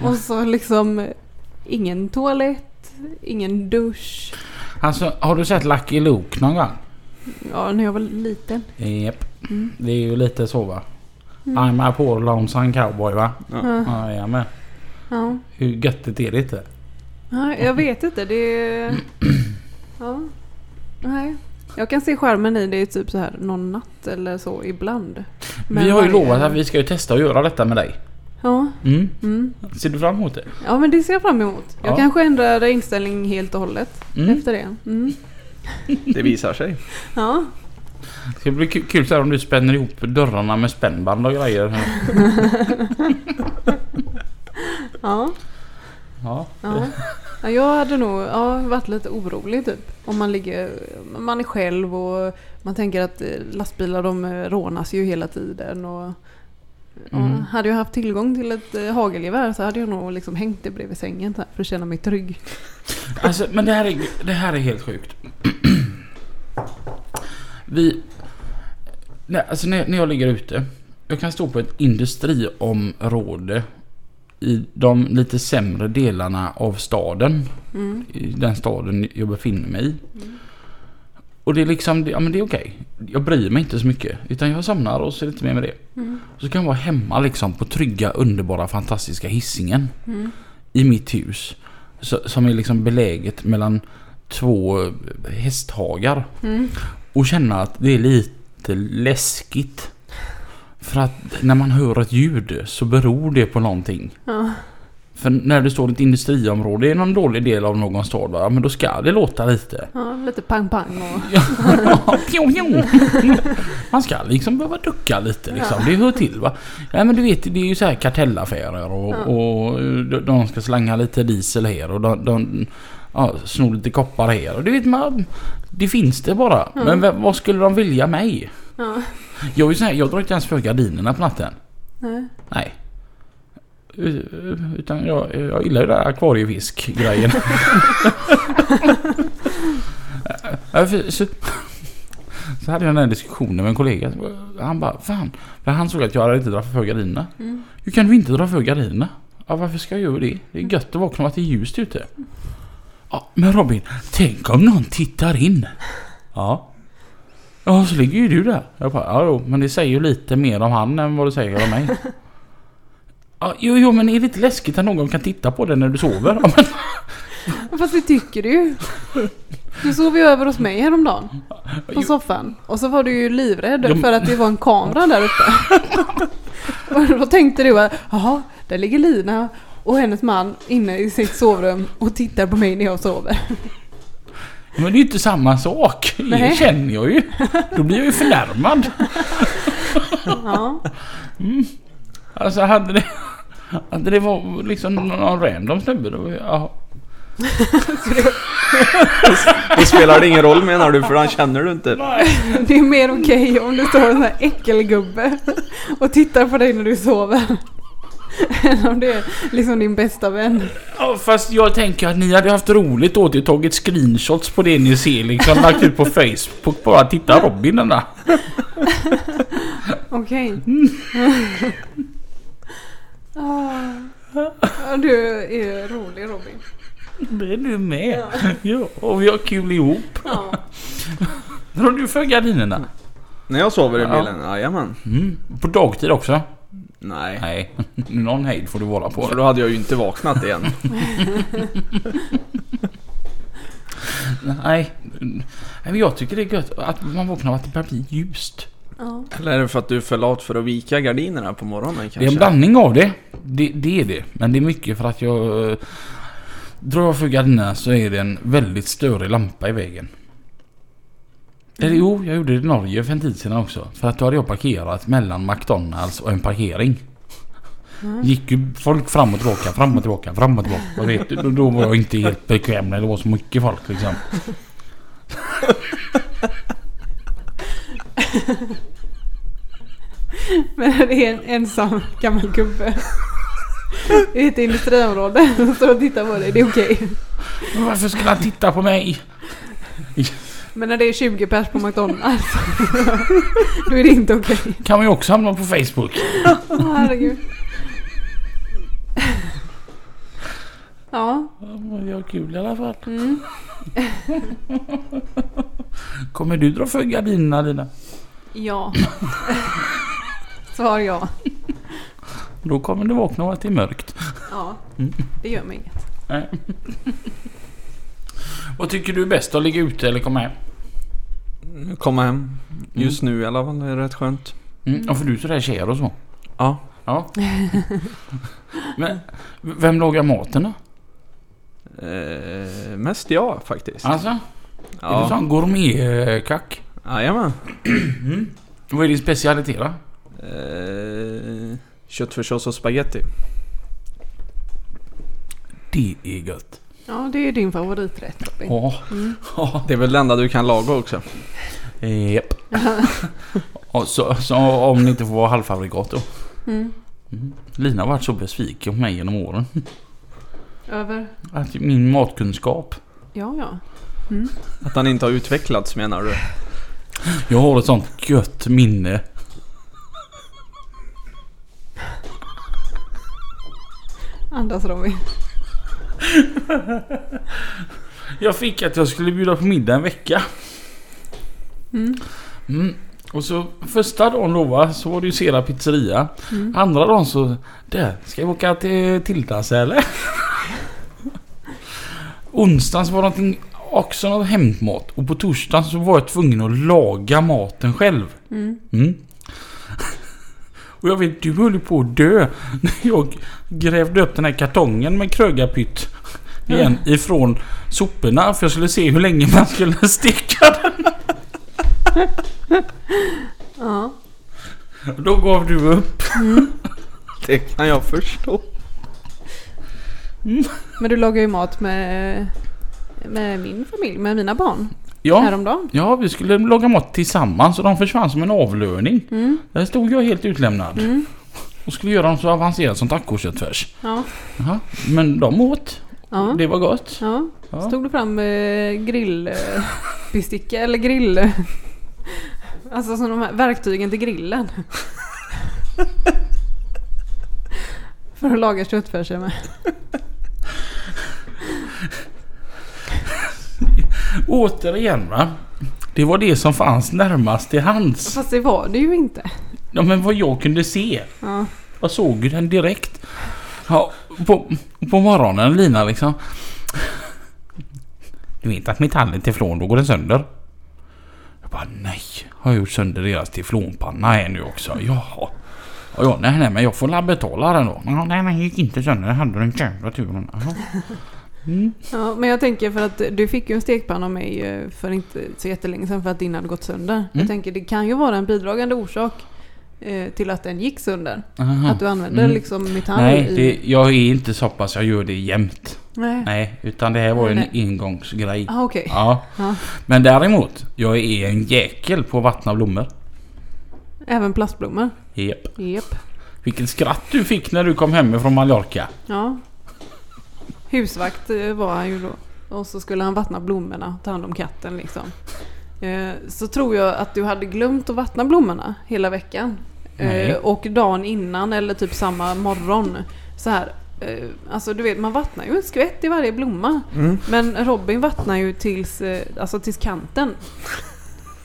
[SPEAKER 2] Och så liksom ingen toalett, ingen dusch.
[SPEAKER 1] Alltså, har du sett Lucky Luke någon gång?
[SPEAKER 2] Ja, när jag var liten.
[SPEAKER 1] Japp.
[SPEAKER 2] Mm.
[SPEAKER 1] Det är ju lite så va? I'm a poor lonesome cowboy va?
[SPEAKER 4] Ja.
[SPEAKER 1] Ja, jag med.
[SPEAKER 2] Ja.
[SPEAKER 1] Hur göttigt är det inte?
[SPEAKER 2] ja, jag vet inte. Det
[SPEAKER 1] (clears throat)
[SPEAKER 2] är... Ja. Nej. Jag kan se skärmen i det är typ så här någon natt eller så ibland. Men
[SPEAKER 1] vi har ju
[SPEAKER 2] varje-
[SPEAKER 1] lovat att vi ska ju testa att göra detta med dig.
[SPEAKER 2] Ja,
[SPEAKER 1] Mm.
[SPEAKER 2] mm.
[SPEAKER 1] Ser du fram emot det?
[SPEAKER 2] ja men det ser jag fram emot. Jag
[SPEAKER 1] Ja.
[SPEAKER 2] kanske ändrar inställning helt och hållet
[SPEAKER 1] Mm.
[SPEAKER 2] efter det. Mm.
[SPEAKER 4] Det visar (laughs) sig.
[SPEAKER 2] Ja. (laughs)
[SPEAKER 1] Det ska bli ku- kul så här om du spänner ihop dörrarna med spännband och grejer.
[SPEAKER 2] ja.
[SPEAKER 1] Ja.
[SPEAKER 2] Ja. Ja, jag hade nog ja, varit lite orolig typ. Om man ligger, man är själv och man tänker att eh, lastbilar de eh, rånas ju hela tiden. Och, och
[SPEAKER 1] Mm.
[SPEAKER 2] Hade jag haft tillgång till ett eh, hagelgevär så hade jag nog liksom hängt det bredvid sängen så här, för att känna mig trygg.
[SPEAKER 1] Alltså, men det här, är, det här är helt sjukt. (clears throat) Vi... Nej, alltså när, när jag ligger ute. Jag kan stå på ett industriområde i de lite sämre delarna av staden.
[SPEAKER 2] Mm.
[SPEAKER 1] I den staden jag befinner mig i. Och det är liksom, det- ja men det är okej. Jag bryr mig inte så mycket. Utan jag somnar och så är det inte mer med det.
[SPEAKER 2] Mm.
[SPEAKER 1] Så kan jag vara hemma liksom på trygga, underbara, fantastiska hissingen
[SPEAKER 2] Mm.
[SPEAKER 1] i mitt hus. så- Som är liksom beläget mellan två eh, hästhagar.
[SPEAKER 2] Mm.
[SPEAKER 1] Och känna att det är lite läskigt. För att när man hör ett ljud så beror det på någonting.
[SPEAKER 2] Ja.
[SPEAKER 1] För när det står ett industriområde i någon dålig del av någon stad va? Men då ska det låta lite.
[SPEAKER 2] Ja, lite pang-pang och...
[SPEAKER 1] Ja, (laughs) pjo, pjo. Man ska liksom behöva ducka lite liksom. Det hör till va. Ja, men du vet det är ju så här kartellaffärer och,
[SPEAKER 2] Ja.
[SPEAKER 1] och de- de ska slänga lite diesel här och de, de ja, snor lite koppar här. Och du vet man, det finns det bara.
[SPEAKER 2] Mm.
[SPEAKER 1] Men vem- vad skulle de vilja mig?
[SPEAKER 2] Ja,
[SPEAKER 1] Jag, är ju så här, jag drar inte ens för gardinerna på natten.
[SPEAKER 2] nej.
[SPEAKER 1] Nej. U- Utan jag, jag gillar ju den här akvariefisk-grejen. Ja, för- så, så hade jag den här diskussionen med en kollega. Han bara, fan. För han såg att jag hade inte dragit för gardinerna.
[SPEAKER 2] Mm.
[SPEAKER 1] Hur kan du inte dra för gardinerna? Ja, varför ska jag göra det? Det är gött att vakna av att det är ljust ute. Ja, men Robin, tänk om någon tittar in. Ja. Ja, så ligger ju du där. Jag bara, ja jo, men det säger ju lite mer om han än vad det säger om mig. Ja, jo, jo, men är det inte läskigt att någon kan titta på dig när du sover? Ja, men,
[SPEAKER 2] Fast det tycker du ju. Du sov ju över hos mig häromdagen. På
[SPEAKER 1] Jo.
[SPEAKER 2] soffan. Och så var du ju livrädd
[SPEAKER 1] Ja, men-
[SPEAKER 2] för att det var en kamera där uppe. Och då tänkte du att, jaha, där ligger Lina och hennes man inne i sitt sovrum och tittar på mig när jag sover.
[SPEAKER 1] men det är ju inte samma sak. Det
[SPEAKER 2] Nej.
[SPEAKER 1] känner jag ju. Då blir jag ju förnärmad.
[SPEAKER 2] Ja,
[SPEAKER 1] Alltså hade det... Hade det varit liksom någon random snubbe då... Ja,
[SPEAKER 4] Då spelar det ingen roll menar du för han känner du inte.
[SPEAKER 2] det är mer okej om du står en sån här äckelgubbe och tittar på dig när du sover. (laughs) Än om det är liksom din bästa vän.
[SPEAKER 1] Ja, fast jag tänker att ni hade haft roligt åt er, tagit screenshots på det ni ser liksom, lagt ut på Facebook. Bara titta Robin den där.
[SPEAKER 2] Okej. (laughs) ah. Ja, Du är rolig Robin.
[SPEAKER 1] Det är du med. Ja, och vi har kul ihop.
[SPEAKER 2] Ja.
[SPEAKER 1] Drar du för gardinerna?
[SPEAKER 4] När jag sover i
[SPEAKER 1] Ja.
[SPEAKER 4] bilen? Jajamän.
[SPEAKER 1] Mm. På dagtid också?
[SPEAKER 4] Nej.
[SPEAKER 1] Nej, någon hejd får du vara på.
[SPEAKER 4] För då hade jag ju inte vaknat igen.
[SPEAKER 1] Nej. Nej, men jag tycker det är gött att man vaknar av att det börjar bli ljust.
[SPEAKER 2] Ja.
[SPEAKER 4] Eller är det för att du är för lat för att vika gardinerna på morgonen kanske?
[SPEAKER 1] Det är en blandning av det. det. Det är det. Men det är mycket för att jag... eh, Drar jag för gardinerna så är det en väldigt störig lampa i vägen. Eller jo, jag gjorde det i Norge för en tid sedan också. För att då hade jag parkerat mellan McDonalds och en parkering. Gick ju folk fram och tillbaka, fram och tillbaka, fram och tillbaka. Och vet, du, då, då var jag inte helt bekväm när det var så mycket folk liksom.
[SPEAKER 2] Men det är en ensam gammal gubbe. I ett industriområde. som Står och tittar på dig. Det är okej.
[SPEAKER 1] Men Varför skulle han titta på mig?
[SPEAKER 2] Men när det är 20 pers på McDonalds. då är det inte okej.
[SPEAKER 1] Kan man ju också hamna på Facebook.
[SPEAKER 2] Åh, herregud. Ja.
[SPEAKER 1] Ja, men Vi har kul i alla fall.
[SPEAKER 2] Mm.
[SPEAKER 1] Kommer du dra för gardinerna Lina?
[SPEAKER 2] Ja. (laughs) Svar ja.
[SPEAKER 1] Då kommer du vakna av att det är mörkt.
[SPEAKER 2] Ja.
[SPEAKER 1] Mm.
[SPEAKER 2] Det gör mig inget.
[SPEAKER 1] Vad tycker du är bäst? Att ligga ute eller komma hem?
[SPEAKER 4] Komma hem. Just nu i alla fall, det är rätt skönt.
[SPEAKER 1] Mm. Ja, för du är sådär kär och så.
[SPEAKER 4] Ja.
[SPEAKER 1] Ja. Men vem lagar maten då?
[SPEAKER 4] Eh, mest jag faktiskt.
[SPEAKER 1] Alltså? Är du
[SPEAKER 4] ja.
[SPEAKER 1] sån gourmetkack?
[SPEAKER 4] Jajamän.
[SPEAKER 1] Vad är din specialitet då?
[SPEAKER 4] Eh, köttfärssås och spaghetti.
[SPEAKER 1] Det är gött.
[SPEAKER 2] Ja, det är din favoriträtt Robin.
[SPEAKER 1] Ja.
[SPEAKER 2] Mm.
[SPEAKER 1] Ja.
[SPEAKER 4] Det är väl det enda du kan laga också.
[SPEAKER 1] Japp. (laughs) Och så, så om ni inte får vara halvfabrikat då.
[SPEAKER 2] Mm.
[SPEAKER 1] Lina har varit så besviken på mig genom åren.
[SPEAKER 2] Över.
[SPEAKER 1] Att min matkunskap.
[SPEAKER 2] Ja, ja.
[SPEAKER 4] Att han inte har utvecklats menar du?
[SPEAKER 1] Jag har ett sånt gött minne.
[SPEAKER 2] Andas Robin.
[SPEAKER 1] Jag fick att jag skulle bjuda på middag en vecka.
[SPEAKER 2] Mm.
[SPEAKER 1] Mm. Och så första dagen då va, så var det ju Sera pizzeria. Andra dagen så... Du, ska vi åka till Tildas eller? Onsdagen så var det någonting, också något hämtmat. Och på torsdagen så var jag tvungen att laga maten själv.
[SPEAKER 2] Mm.
[SPEAKER 1] Mm. Och jag vet, du höll ju på att dö när jag grävde upp den här kartongen med krögarpytt. Igen, ifrån soporna. För jag skulle se hur länge man skulle (laughs) steka den.
[SPEAKER 2] Ja.
[SPEAKER 1] Då gav du upp.
[SPEAKER 4] Det kan jag förstå.
[SPEAKER 2] Men du lagar ju mat med, med min familj, med mina barn.
[SPEAKER 1] Ja,
[SPEAKER 2] Häromdagen.
[SPEAKER 1] ja, vi skulle laga mat tillsammans och de försvann som en avlöning.
[SPEAKER 2] Mm.
[SPEAKER 1] Där stod jag helt utlämnad. Och skulle göra dem så avancerat som tacoköttfärs.
[SPEAKER 2] Ja.
[SPEAKER 1] Jaha, Men de åt.
[SPEAKER 2] Ja.
[SPEAKER 1] Det var gott.
[SPEAKER 2] ja.
[SPEAKER 1] Ja.
[SPEAKER 2] Stod du fram eh, grillbesticka eller grill... Alltså som de här verktygen till grillen. (laughs) För att laga köttfärsen med.
[SPEAKER 1] Återigen va. Det var det som fanns närmast till hands.
[SPEAKER 2] Fast det var det ju inte.
[SPEAKER 1] Ja men vad jag kunde se.
[SPEAKER 2] Ja.
[SPEAKER 1] Jag såg ju den direkt. Ja, på, på morgonen Lina liksom. Du vet att metallen teflon, då går den sönder. Jag bara nej. Har jag gjort sönder deras teflonpanna här nu också? Jaha. Och jag, nej nej men jag får la betala den då. Ja, nej men gick inte sönder. Den hade den jävla turen. Jaha.
[SPEAKER 2] Ja, men jag tänker för att du fick ju en stekpanna av mig eh, för inte så jättelänge sedan för att din hade gått sönder.
[SPEAKER 1] Mm.
[SPEAKER 2] Jag tänker det kan ju vara en bidragande orsak eh, till att den gick sönder.
[SPEAKER 1] Aha.
[SPEAKER 2] Att du använder
[SPEAKER 1] Mm.
[SPEAKER 2] liksom metall
[SPEAKER 1] Nej,
[SPEAKER 2] i...
[SPEAKER 1] det, jag är inte så pass. Jag gör det jämt.
[SPEAKER 2] Nej.
[SPEAKER 1] Nej, utan det här var ju en
[SPEAKER 2] Nej.
[SPEAKER 1] engångsgrej.
[SPEAKER 2] Ah, okej.
[SPEAKER 1] Ja.
[SPEAKER 2] Ja.
[SPEAKER 1] Men däremot, jag är en jäkel på att vattna blommor.
[SPEAKER 2] Även plastblommor.
[SPEAKER 1] Japp.
[SPEAKER 2] Jep.
[SPEAKER 1] Vilket skratt du fick när du kom hem från Mallorca.
[SPEAKER 2] Ja. Husvakt eh, var han ju då. Och så skulle han vattna blommorna, ta hand om katten liksom. Eh, Så tror jag att du hade glömt att vattna blommorna hela veckan. Eh,
[SPEAKER 1] Nej.
[SPEAKER 2] Och dagen innan eller typ samma morgon. Så här. eh, Alltså du vet man vattnar ju en skvätt i varje blomma.
[SPEAKER 4] Mm.
[SPEAKER 2] Men Robin vattnar ju tills, eh, alltså tills kanten.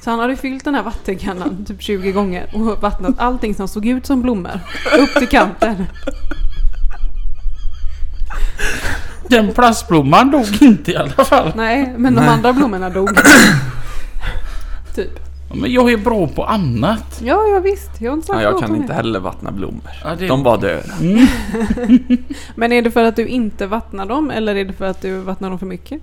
[SPEAKER 2] Så han hade fyllt den här vattenkannan typ 20 gånger och vattnat allting som såg ut som blommor. Upp till kanten.
[SPEAKER 1] Den plastblomman dog inte i alla fall.
[SPEAKER 2] Nej, men de
[SPEAKER 4] Nej.
[SPEAKER 2] andra blommorna dog. typ.
[SPEAKER 1] Men jag är bra på annat.
[SPEAKER 2] Ja, ja visst. Jag har inte sagt
[SPEAKER 4] Nej, jag
[SPEAKER 2] något
[SPEAKER 4] kan
[SPEAKER 2] om
[SPEAKER 4] inte
[SPEAKER 2] det.
[SPEAKER 4] heller vattna blommor.
[SPEAKER 1] Ja, det-
[SPEAKER 4] De bara dör.
[SPEAKER 1] Mm.
[SPEAKER 2] Men är det för att du inte vattnar dem eller är det för att du vattnar dem för mycket?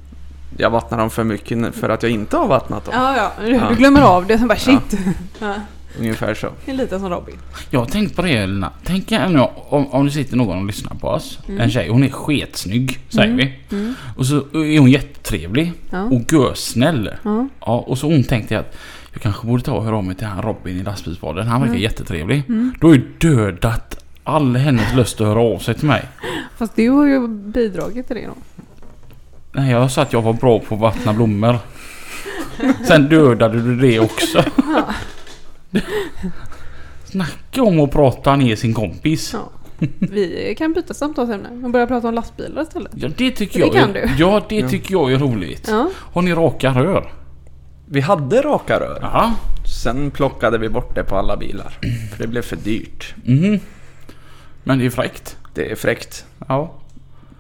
[SPEAKER 4] Jag vattnar dem för mycket för att jag inte har vattnat dem.
[SPEAKER 2] Ja, ja. Du,
[SPEAKER 4] Ja.
[SPEAKER 2] du glömmer av det. Sen bara
[SPEAKER 4] Ja.
[SPEAKER 2] shit. (laughs) Ja.
[SPEAKER 4] Ungefär så.
[SPEAKER 2] Det är lite som Robin.
[SPEAKER 1] Jag har tänkt på det Elina. Tänk er nu om, om det sitter någon och lyssnar på oss.
[SPEAKER 4] Mm.
[SPEAKER 1] En tjej. Hon är sketsnygg, säger vi.
[SPEAKER 2] Mm.
[SPEAKER 1] Och så är hon jättetrevlig.
[SPEAKER 2] Ja.
[SPEAKER 1] Och görsnäll.
[SPEAKER 2] Ja.
[SPEAKER 1] Ja, och så hon tänkte att jag kanske borde ta och höra av mig till han Robin i lastbilsbaden. Han verkar
[SPEAKER 4] Mm.
[SPEAKER 1] jättetrevlig. Då har ju dödat all hennes lust att höra av sig till mig.
[SPEAKER 2] Fast du har ju bidragit till det då.
[SPEAKER 1] Nej, jag sa att jag var bra på att vattna blommor. Sen dödade du det också. Snacka om att prata ner sin kompis.
[SPEAKER 2] Ja. (laughs) Vi kan byta samtalsämne och börja prata om lastbilar istället.
[SPEAKER 1] Ja, det tycker
[SPEAKER 2] Det
[SPEAKER 1] jag
[SPEAKER 2] kan
[SPEAKER 1] är,
[SPEAKER 2] du.
[SPEAKER 1] Ja, det
[SPEAKER 4] Ja.
[SPEAKER 1] tycker jag är roligt.
[SPEAKER 2] Ja.
[SPEAKER 1] Har ni raka rör?
[SPEAKER 4] Vi hade raka rör.
[SPEAKER 1] Ja.
[SPEAKER 4] Sen plockade vi bort det på alla bilar. För det blev för dyrt.
[SPEAKER 1] Mhm. Men det är fräckt.
[SPEAKER 4] Det är fräckt.
[SPEAKER 1] Ja.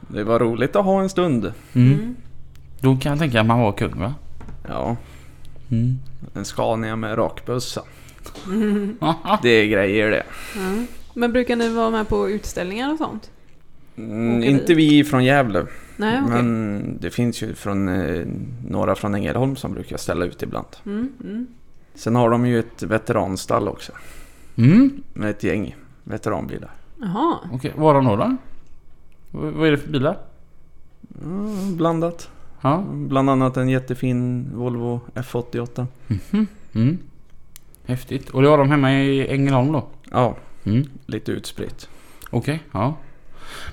[SPEAKER 4] Det var roligt att ha en stund.
[SPEAKER 1] Mm. Då kan jag tänka att man var kung va?
[SPEAKER 4] Ja,
[SPEAKER 1] Mm.
[SPEAKER 4] en Scania med rakbössa. Det är grejer det.
[SPEAKER 2] Mm. Men brukar ni vara med på utställningar och sånt?
[SPEAKER 4] Mm,
[SPEAKER 2] Åker
[SPEAKER 4] inte vi från Gävle.
[SPEAKER 2] Nej, okej.
[SPEAKER 4] Men det finns ju från, eh, några från Ängelholm som brukar ställa ut ibland.
[SPEAKER 2] Mm, mm.
[SPEAKER 4] Sen har de ju ett veteranstall också.
[SPEAKER 1] Mm.
[SPEAKER 4] Med ett gäng veteranbilar.
[SPEAKER 2] Jaha.
[SPEAKER 1] Okej, var har några? V- Vad är det för bilar?
[SPEAKER 4] Mm, blandat.
[SPEAKER 1] Ja.
[SPEAKER 4] Bland annat en jättefin Volvo F88.
[SPEAKER 1] Mm. Häftigt. Och det har de hemma i Ängelholm då?
[SPEAKER 4] Ja,
[SPEAKER 1] Mm.
[SPEAKER 4] lite utspritt.
[SPEAKER 1] Okej, ja.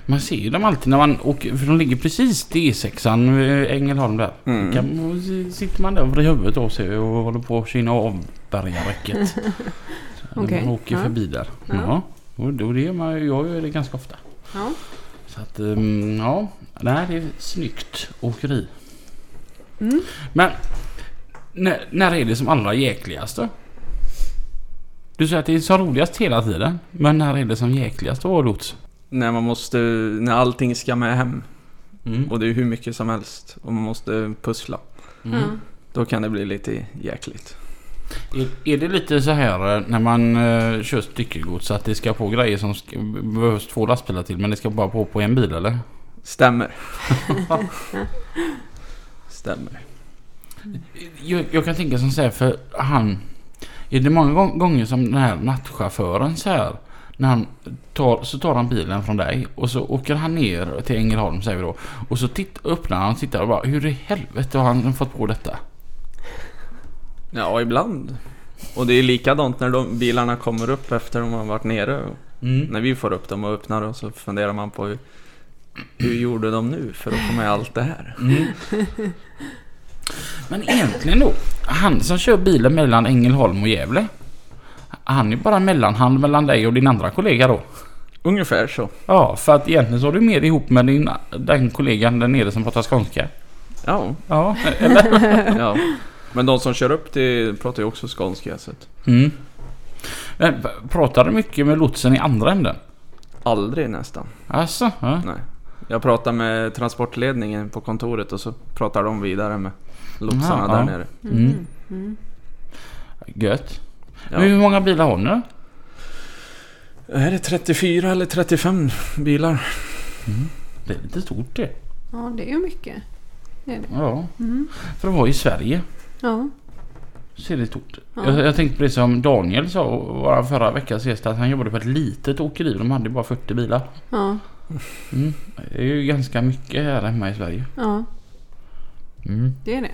[SPEAKER 1] Man ser ju dem alltid när man åker, för de ligger precis till E6an vid eh, Ängelholm där.
[SPEAKER 4] Mm.
[SPEAKER 1] Kan, och s- sitter man där och vrider huvudet av sig och håller på att kinna av
[SPEAKER 2] (laughs)
[SPEAKER 1] bergaräcket. Så när
[SPEAKER 2] Okej,
[SPEAKER 1] Man åker
[SPEAKER 2] ja.
[SPEAKER 1] förbi där.
[SPEAKER 2] Ja.
[SPEAKER 1] Ja. Och då det gör man ju, jag gör det ganska ofta.
[SPEAKER 2] Ja.
[SPEAKER 1] Så att, ehm, ja. Det här är ett snyggt åkeri.
[SPEAKER 2] Mm.
[SPEAKER 1] Men, när, när är det som allra jäkligast då? Du säger att det är som roligast hela tiden. Men när är det som jäkligast att vara lots?
[SPEAKER 4] När man måste, när allting ska med hem.
[SPEAKER 1] Mm.
[SPEAKER 4] Och det är hur mycket som helst. Och man måste pussla.
[SPEAKER 1] Mm.
[SPEAKER 2] Ja.
[SPEAKER 4] Då kan det bli lite jäkligt.
[SPEAKER 1] Är, är det lite så här eh, när man eh, kör styckegods att det ska på grejer som ska, behövs två lastbilar till men det ska bara på på en bil eller?
[SPEAKER 4] Stämmer. Stämmer.
[SPEAKER 1] Jag, jag kan tänka som så här för han... Är det många gång- gånger som den här nattchauffören så här... När han tar, så tar han bilen från dig och så åker han ner till Ängelholm säger vi då. Och så titt, öppnar han och tittar och bara hur i helvete har han fått på detta?
[SPEAKER 4] Ja, ibland. Och det är likadant när de bilarna kommer upp efter de har varit nere. Och När vi får upp dem och öppnar dem så funderar man på hur, hur gjorde de nu för att få med allt det här?
[SPEAKER 1] Mm. Men egentligen då, han som kör bilen mellan Ängelholm och Gävle. Han är bara en mellanhand mellan dig och din andra kollega då.
[SPEAKER 4] Ungefär så.
[SPEAKER 1] Ja, för att egentligen så har du mer ihop med din, den kollegan där nere som pratar skånska.
[SPEAKER 4] Ja,
[SPEAKER 1] Ja, eller?
[SPEAKER 4] ja. Men de som kör upp det pratar ju också skånska. Så att
[SPEAKER 1] Mm. Men p- pratar du mycket med lotsen i andra änden?
[SPEAKER 4] aldrig nästan.
[SPEAKER 1] Alltså, ja.
[SPEAKER 4] Nej. Jag pratar med transportledningen på kontoret och så pratar de vidare med lotsarna
[SPEAKER 1] Aha,
[SPEAKER 4] där
[SPEAKER 1] ja.
[SPEAKER 4] nere.
[SPEAKER 1] Mm. Gött.
[SPEAKER 4] Ja.
[SPEAKER 1] Men hur många bilar har ni då?
[SPEAKER 4] Är det 34 eller 35 bilar?
[SPEAKER 1] Det är lite stort det.
[SPEAKER 2] Ja, det är ju mycket. Det är det.
[SPEAKER 1] Ja. För att vara i Sverige
[SPEAKER 2] Ja.
[SPEAKER 1] så är det stort.
[SPEAKER 2] Ja.
[SPEAKER 1] Jag, jag tänkte på det som Daniel sa vår förra veckans gäst att han jobbade på ett litet åkeri. De hade ju bara 40 bilar.
[SPEAKER 2] Ja.
[SPEAKER 1] Mm. Det är ju ganska mycket här hemma i Sverige.
[SPEAKER 2] Ja.
[SPEAKER 1] Mm.
[SPEAKER 2] Det är det.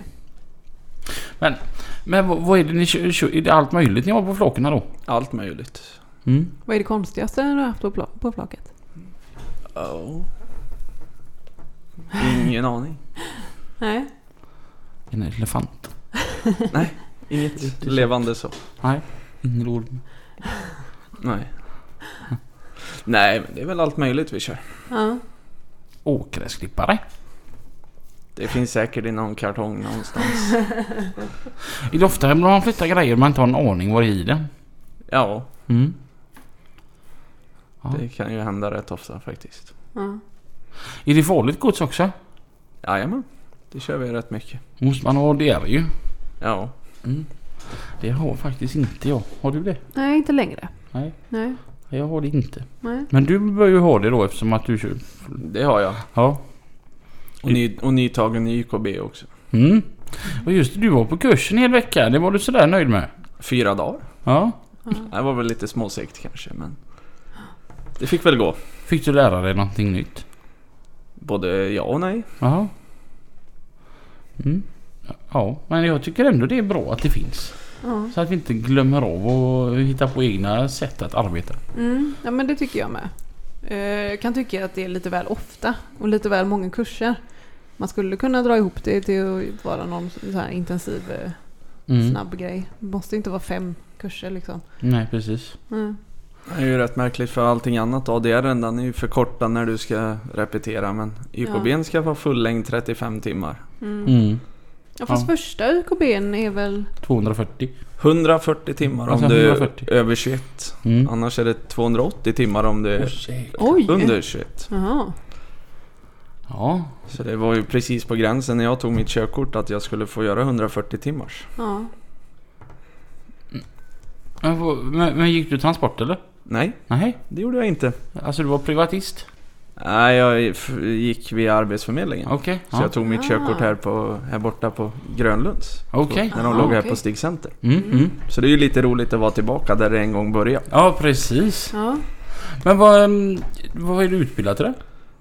[SPEAKER 1] Men vad, vad är det ni kör? kör- Är det allt möjligt ni har på flokerna då?
[SPEAKER 4] Allt möjligt.
[SPEAKER 1] Mm.
[SPEAKER 2] Vad är det konstigaste du har haft på, pla- på flaket?
[SPEAKER 4] Ja. Oh. Ingen aning.
[SPEAKER 2] Nej.
[SPEAKER 1] En elefant?
[SPEAKER 4] Inget levande så.
[SPEAKER 1] Nej. Ingen orm?
[SPEAKER 4] Nej. (laughs) Nej, men det är väl allt möjligt vi kör.
[SPEAKER 2] Ja.
[SPEAKER 1] Åkgräsklippare?
[SPEAKER 4] Det finns säkert i någon kartong någonstans.
[SPEAKER 1] Är det ofta när man flyttar grejer man inte har en aning vad det är i den?
[SPEAKER 4] Ja,
[SPEAKER 1] Mm. Ja.
[SPEAKER 4] det kan ju hända rätt ofta faktiskt.
[SPEAKER 2] Ja.
[SPEAKER 1] Är det farligt gods också?
[SPEAKER 4] Jajamän, det kör vi rätt mycket.
[SPEAKER 1] Måste man ha det är det ju.
[SPEAKER 4] Ja,
[SPEAKER 1] Det har faktiskt inte jag. Har du det?
[SPEAKER 2] Nej, inte längre.
[SPEAKER 1] Nej.
[SPEAKER 2] Nej.
[SPEAKER 1] Jag har det inte.
[SPEAKER 2] Nej.
[SPEAKER 1] Men du bör ju ha det då eftersom att du kör.
[SPEAKER 4] det har jag.
[SPEAKER 1] Ja.
[SPEAKER 4] Och, ny, och nytagen i YKB också.
[SPEAKER 1] Mm. Och just det, du var på kursen en hel vecka. Det var du sådär nöjd med?
[SPEAKER 4] Fyra dagar.
[SPEAKER 1] Ja.
[SPEAKER 4] Det var väl lite småsegt kanske, men det fick väl gå.
[SPEAKER 1] Fick du lära dig någonting nytt?
[SPEAKER 4] Både ja och nej.
[SPEAKER 1] Ja. Mm. Ja, men jag tycker ändå det är bra att det finns.
[SPEAKER 2] Ja.
[SPEAKER 1] Så att vi inte glömmer av och hitta på egna sätt att arbeta.
[SPEAKER 2] Mm, ja men det tycker jag med. Eh, Jag kan tycka att det är lite väl ofta och lite väl många kurser. Man skulle kunna dra ihop det till att vara någon så här intensiv eh,
[SPEAKER 1] Mm.
[SPEAKER 2] snabb grej. Det måste inte vara fem kurser liksom.
[SPEAKER 1] Nej, precis.
[SPEAKER 2] Mm.
[SPEAKER 4] Det är ju rätt märkligt för allting annat. ADR den är ju förkortad när du ska repetera men YKB n ska vara fullängd 35 timmar.
[SPEAKER 1] Mm.
[SPEAKER 2] Ja, fast första UKB'n är väl...
[SPEAKER 1] 240.
[SPEAKER 4] 140 timmar om
[SPEAKER 1] Alltså,
[SPEAKER 4] du
[SPEAKER 1] 140.
[SPEAKER 4] är över 21.
[SPEAKER 1] Mm.
[SPEAKER 4] Annars är det 280 timmar om du är
[SPEAKER 2] Oj!
[SPEAKER 4] under 21.
[SPEAKER 2] Jaha.
[SPEAKER 1] Ja.
[SPEAKER 4] Så det var ju precis på gränsen när jag tog mitt körkort att jag skulle få göra 140 timmars.
[SPEAKER 2] Ja.
[SPEAKER 1] Men, vad- men, men gick du transport eller?
[SPEAKER 4] Nej,
[SPEAKER 1] Nej.
[SPEAKER 4] det gjorde jag inte.
[SPEAKER 1] Alltså du var privatist?
[SPEAKER 4] Nej, jag f- gick via Arbetsförmedlingen.
[SPEAKER 1] Okej.
[SPEAKER 4] Så
[SPEAKER 1] Ja.
[SPEAKER 4] jag tog mitt
[SPEAKER 2] Ah.
[SPEAKER 4] körkort här, på, här borta på Grönlunds.
[SPEAKER 1] Okej.
[SPEAKER 4] När de
[SPEAKER 2] Ah,
[SPEAKER 4] låg här
[SPEAKER 2] okej.
[SPEAKER 4] på Stig Center.
[SPEAKER 1] Mm, mm.
[SPEAKER 4] Så det är ju lite roligt att vara tillbaka där det en gång började.
[SPEAKER 1] Ja, precis.
[SPEAKER 2] Ja.
[SPEAKER 1] Men vad, mm, vad är du utbildad till?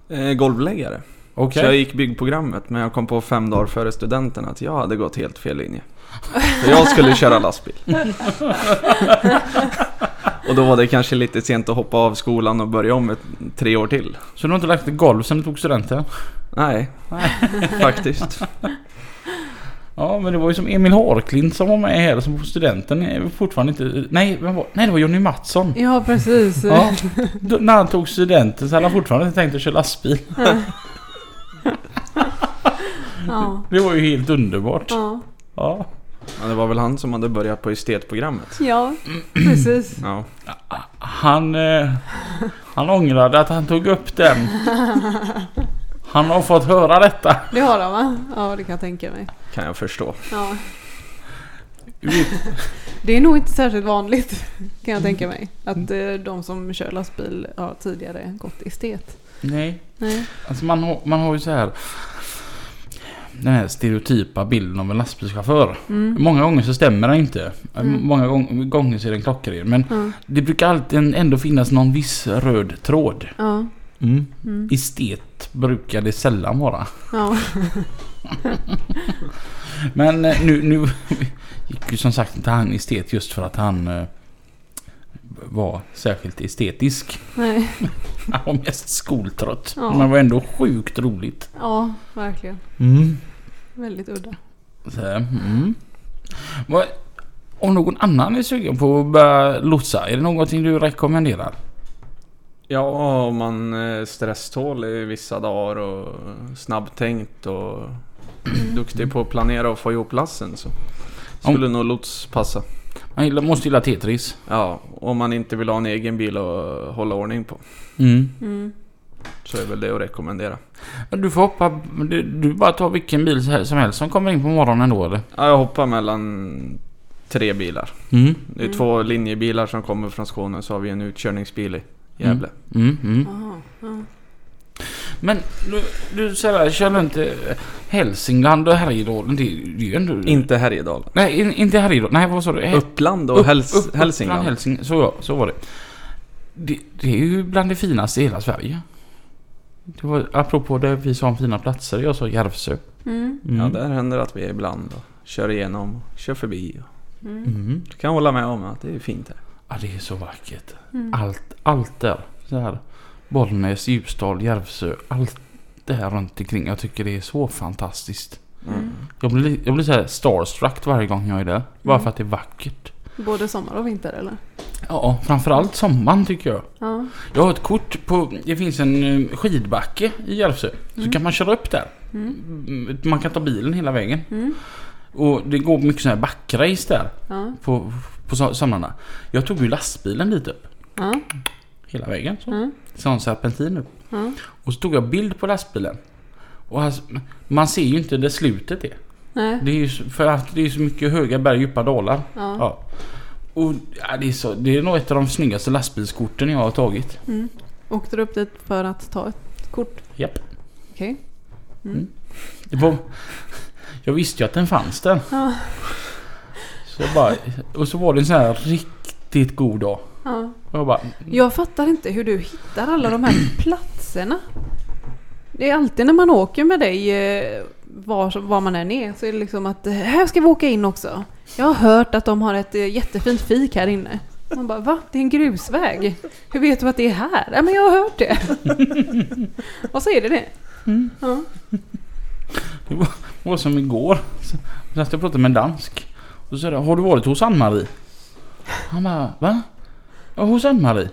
[SPEAKER 1] det?
[SPEAKER 4] Eh, golvläggare.
[SPEAKER 1] Okej.
[SPEAKER 4] Så jag gick byggprogrammet men jag kom på fem dagar före studenten att jag hade gått helt fel linje. För jag skulle köra lastbil. och då var det kanske lite sent att hoppa av skolan och börja om ett, tre år till.
[SPEAKER 1] Så du har inte lagt ett golv sen du tog studenten?
[SPEAKER 4] Nej, faktiskt.
[SPEAKER 1] Ja, men det var ju som Emil Harklint som var med här som på studenten är fortfarande inte... Nej, vem var, nej det var Jonny Mattsson.
[SPEAKER 2] ja, precis.
[SPEAKER 1] Ja, då, när han tog studenten så hade han fortfarande inte tänkt att köra lastbil.
[SPEAKER 2] Ja.
[SPEAKER 1] Det var ju helt underbart.
[SPEAKER 2] Ja.
[SPEAKER 1] Ja.
[SPEAKER 4] Men det var väl han som hade börjat på estetprogrammet.
[SPEAKER 2] ja, precis.
[SPEAKER 4] Ja.
[SPEAKER 1] Han, eh, han ångrade att han tog upp den. Han har fått höra detta.
[SPEAKER 2] Det har de va? Ja, det kan jag tänka mig.
[SPEAKER 4] Kan jag förstå.
[SPEAKER 2] Ja. Det är nog inte särskilt vanligt kan jag tänka mig. Att eh, de som kör lastbil har tidigare gått estet.
[SPEAKER 1] Nej.
[SPEAKER 2] Nej.
[SPEAKER 1] Alltså man har, man har ju så här. Den här stereotypa bilden av en lastbilschaufför.
[SPEAKER 2] Mm.
[SPEAKER 1] Många gånger så stämmer den inte.
[SPEAKER 2] Mm.
[SPEAKER 1] Många gång, gånger så är den klockren. Men
[SPEAKER 2] Ja.
[SPEAKER 1] det brukar alltid ändå finnas någon viss röd tråd.
[SPEAKER 2] Ja. Mm.
[SPEAKER 1] Estet brukar det sällan vara.
[SPEAKER 2] ja.
[SPEAKER 1] Men eh, nu, nu (laughs) gick ju som sagt inte han estet just för att han eh, var särskilt estetisk. (laughs)
[SPEAKER 2] Nej.
[SPEAKER 1] Han var mest skoltrött.
[SPEAKER 2] Ja.
[SPEAKER 1] Men var ändå sjukt roligt.
[SPEAKER 2] Ja, verkligen. Väldigt udda.
[SPEAKER 1] Så, här, mm. Vad, om någon annan är sugen på att börja lotsa, är det någonting du rekommenderar?
[SPEAKER 4] Ja, om man är stresstål i vissa dagar och snabbtänkt och
[SPEAKER 1] Mm.
[SPEAKER 4] duktig på att planera och få ihop lassen så skulle nog lots passa.
[SPEAKER 1] Man gillar, måste gilla Tetris.
[SPEAKER 4] Ja, om man inte vill ha en egen bil att hålla ordning på
[SPEAKER 2] Mm.
[SPEAKER 4] så är väl det att rekommendera.
[SPEAKER 1] Du får hoppa... Du, du bara tar vilken bil så här- som helst som kommer in på morgonen då eller?
[SPEAKER 4] Ja, jag hoppar mellan tre bilar.
[SPEAKER 1] Mm.
[SPEAKER 4] Det är
[SPEAKER 2] Mm.
[SPEAKER 4] två linjebilar som kommer från Skåne så har vi en utkörningsbil i Gävle.
[SPEAKER 1] Mm, mm.
[SPEAKER 2] Aha. Ja.
[SPEAKER 1] Men du, du såhär, kör du inte Hälsingland och Härjedalen? Det, det är ju ändå...
[SPEAKER 4] Inte Härjedalen.
[SPEAKER 1] Nej, in, inte Härjedalen. Nej, vad sa du? Hä-
[SPEAKER 4] Uppland och
[SPEAKER 1] Eh, Upp-
[SPEAKER 4] Häls-
[SPEAKER 1] Upp- Uppland,
[SPEAKER 4] Hälsingland.
[SPEAKER 1] Hälsing, så, ja, så var det. det. Det är ju bland det finaste i hela Sverige. Det var apropå det vi sa om fina platser. Jag sa Järvsö.
[SPEAKER 2] Mm.
[SPEAKER 1] Mm.
[SPEAKER 4] Ja, där händer det att vi ibland och kör igenom och kör förbi. Och
[SPEAKER 2] Mm.
[SPEAKER 1] Mm.
[SPEAKER 4] du kan hålla med om att det är fint här.
[SPEAKER 1] Ja, det är så vackert.
[SPEAKER 2] Mm.
[SPEAKER 1] Allt, allt där. Så här. Bollnäs, Ljusdal, Järvsö. Allt det här runt omkring. Jag tycker det är så fantastiskt.
[SPEAKER 2] Mm.
[SPEAKER 1] Jag blir, li- jag blir så här starstruck varje gång jag är där. Bara
[SPEAKER 2] Mm.
[SPEAKER 1] för att det är vackert.
[SPEAKER 2] Både sommar och vinter eller?
[SPEAKER 1] Ja, framförallt sommaren tycker jag.
[SPEAKER 2] Ja.
[SPEAKER 1] Jag har ett kort på... Det finns en eh, skidbacke i Järvsö. Så
[SPEAKER 2] Mm.
[SPEAKER 1] kan man köra upp där.
[SPEAKER 2] Mm.
[SPEAKER 1] Mm, Man kan ta bilen hela vägen.
[SPEAKER 2] Mm.
[SPEAKER 1] Och det går mycket sådana här backrace där.
[SPEAKER 2] Ja.
[SPEAKER 1] På, på so- somrarna. Jag tog ju lastbilen dit upp.
[SPEAKER 2] Ja.
[SPEAKER 1] Hela vägen. Så.
[SPEAKER 2] Ja.
[SPEAKER 1] Sån serpentin upp.
[SPEAKER 2] Ja.
[SPEAKER 1] Och så tog jag bild på lastbilen. Och alltså, man ser ju inte där slutet är.
[SPEAKER 2] Nej.
[SPEAKER 1] Det är ju så- för att det är så mycket höga berg och djupa dalar.
[SPEAKER 2] Ja.
[SPEAKER 1] Ja. Och ja, det, är så, det är nog ett av de snyggaste lastbilskorten jag har tagit.
[SPEAKER 2] Mm. Åkte du upp dit för att ta ett kort?
[SPEAKER 1] Japp.
[SPEAKER 2] Okej. Mm.
[SPEAKER 1] Det var, jag visste ju att den fanns där.
[SPEAKER 2] Ja.
[SPEAKER 1] Så jag bara, och så var det en sån här riktigt god dag.
[SPEAKER 2] Ja.
[SPEAKER 1] Och jag bara,
[SPEAKER 2] Jag fattar inte hur du hittar alla de här (clears throat) platserna. Det är alltid när man åker med dig, eh, var, som- var man än är, så är det liksom att eh, här ska vi åka in också. Jag har hört att de har ett eh, jättefint fik här inne. Man bara, va? Det är en grusväg. Hur vet du att det är här? Ja, men jag har hört (laughs) det. Och så är det det. Ja.
[SPEAKER 1] Det var som igår. Så så satt jag och pratade med en dansk. Och så sa jag, har du varit hos Ann-Marie? Han bara, va? Ja, hos Ann-Marie.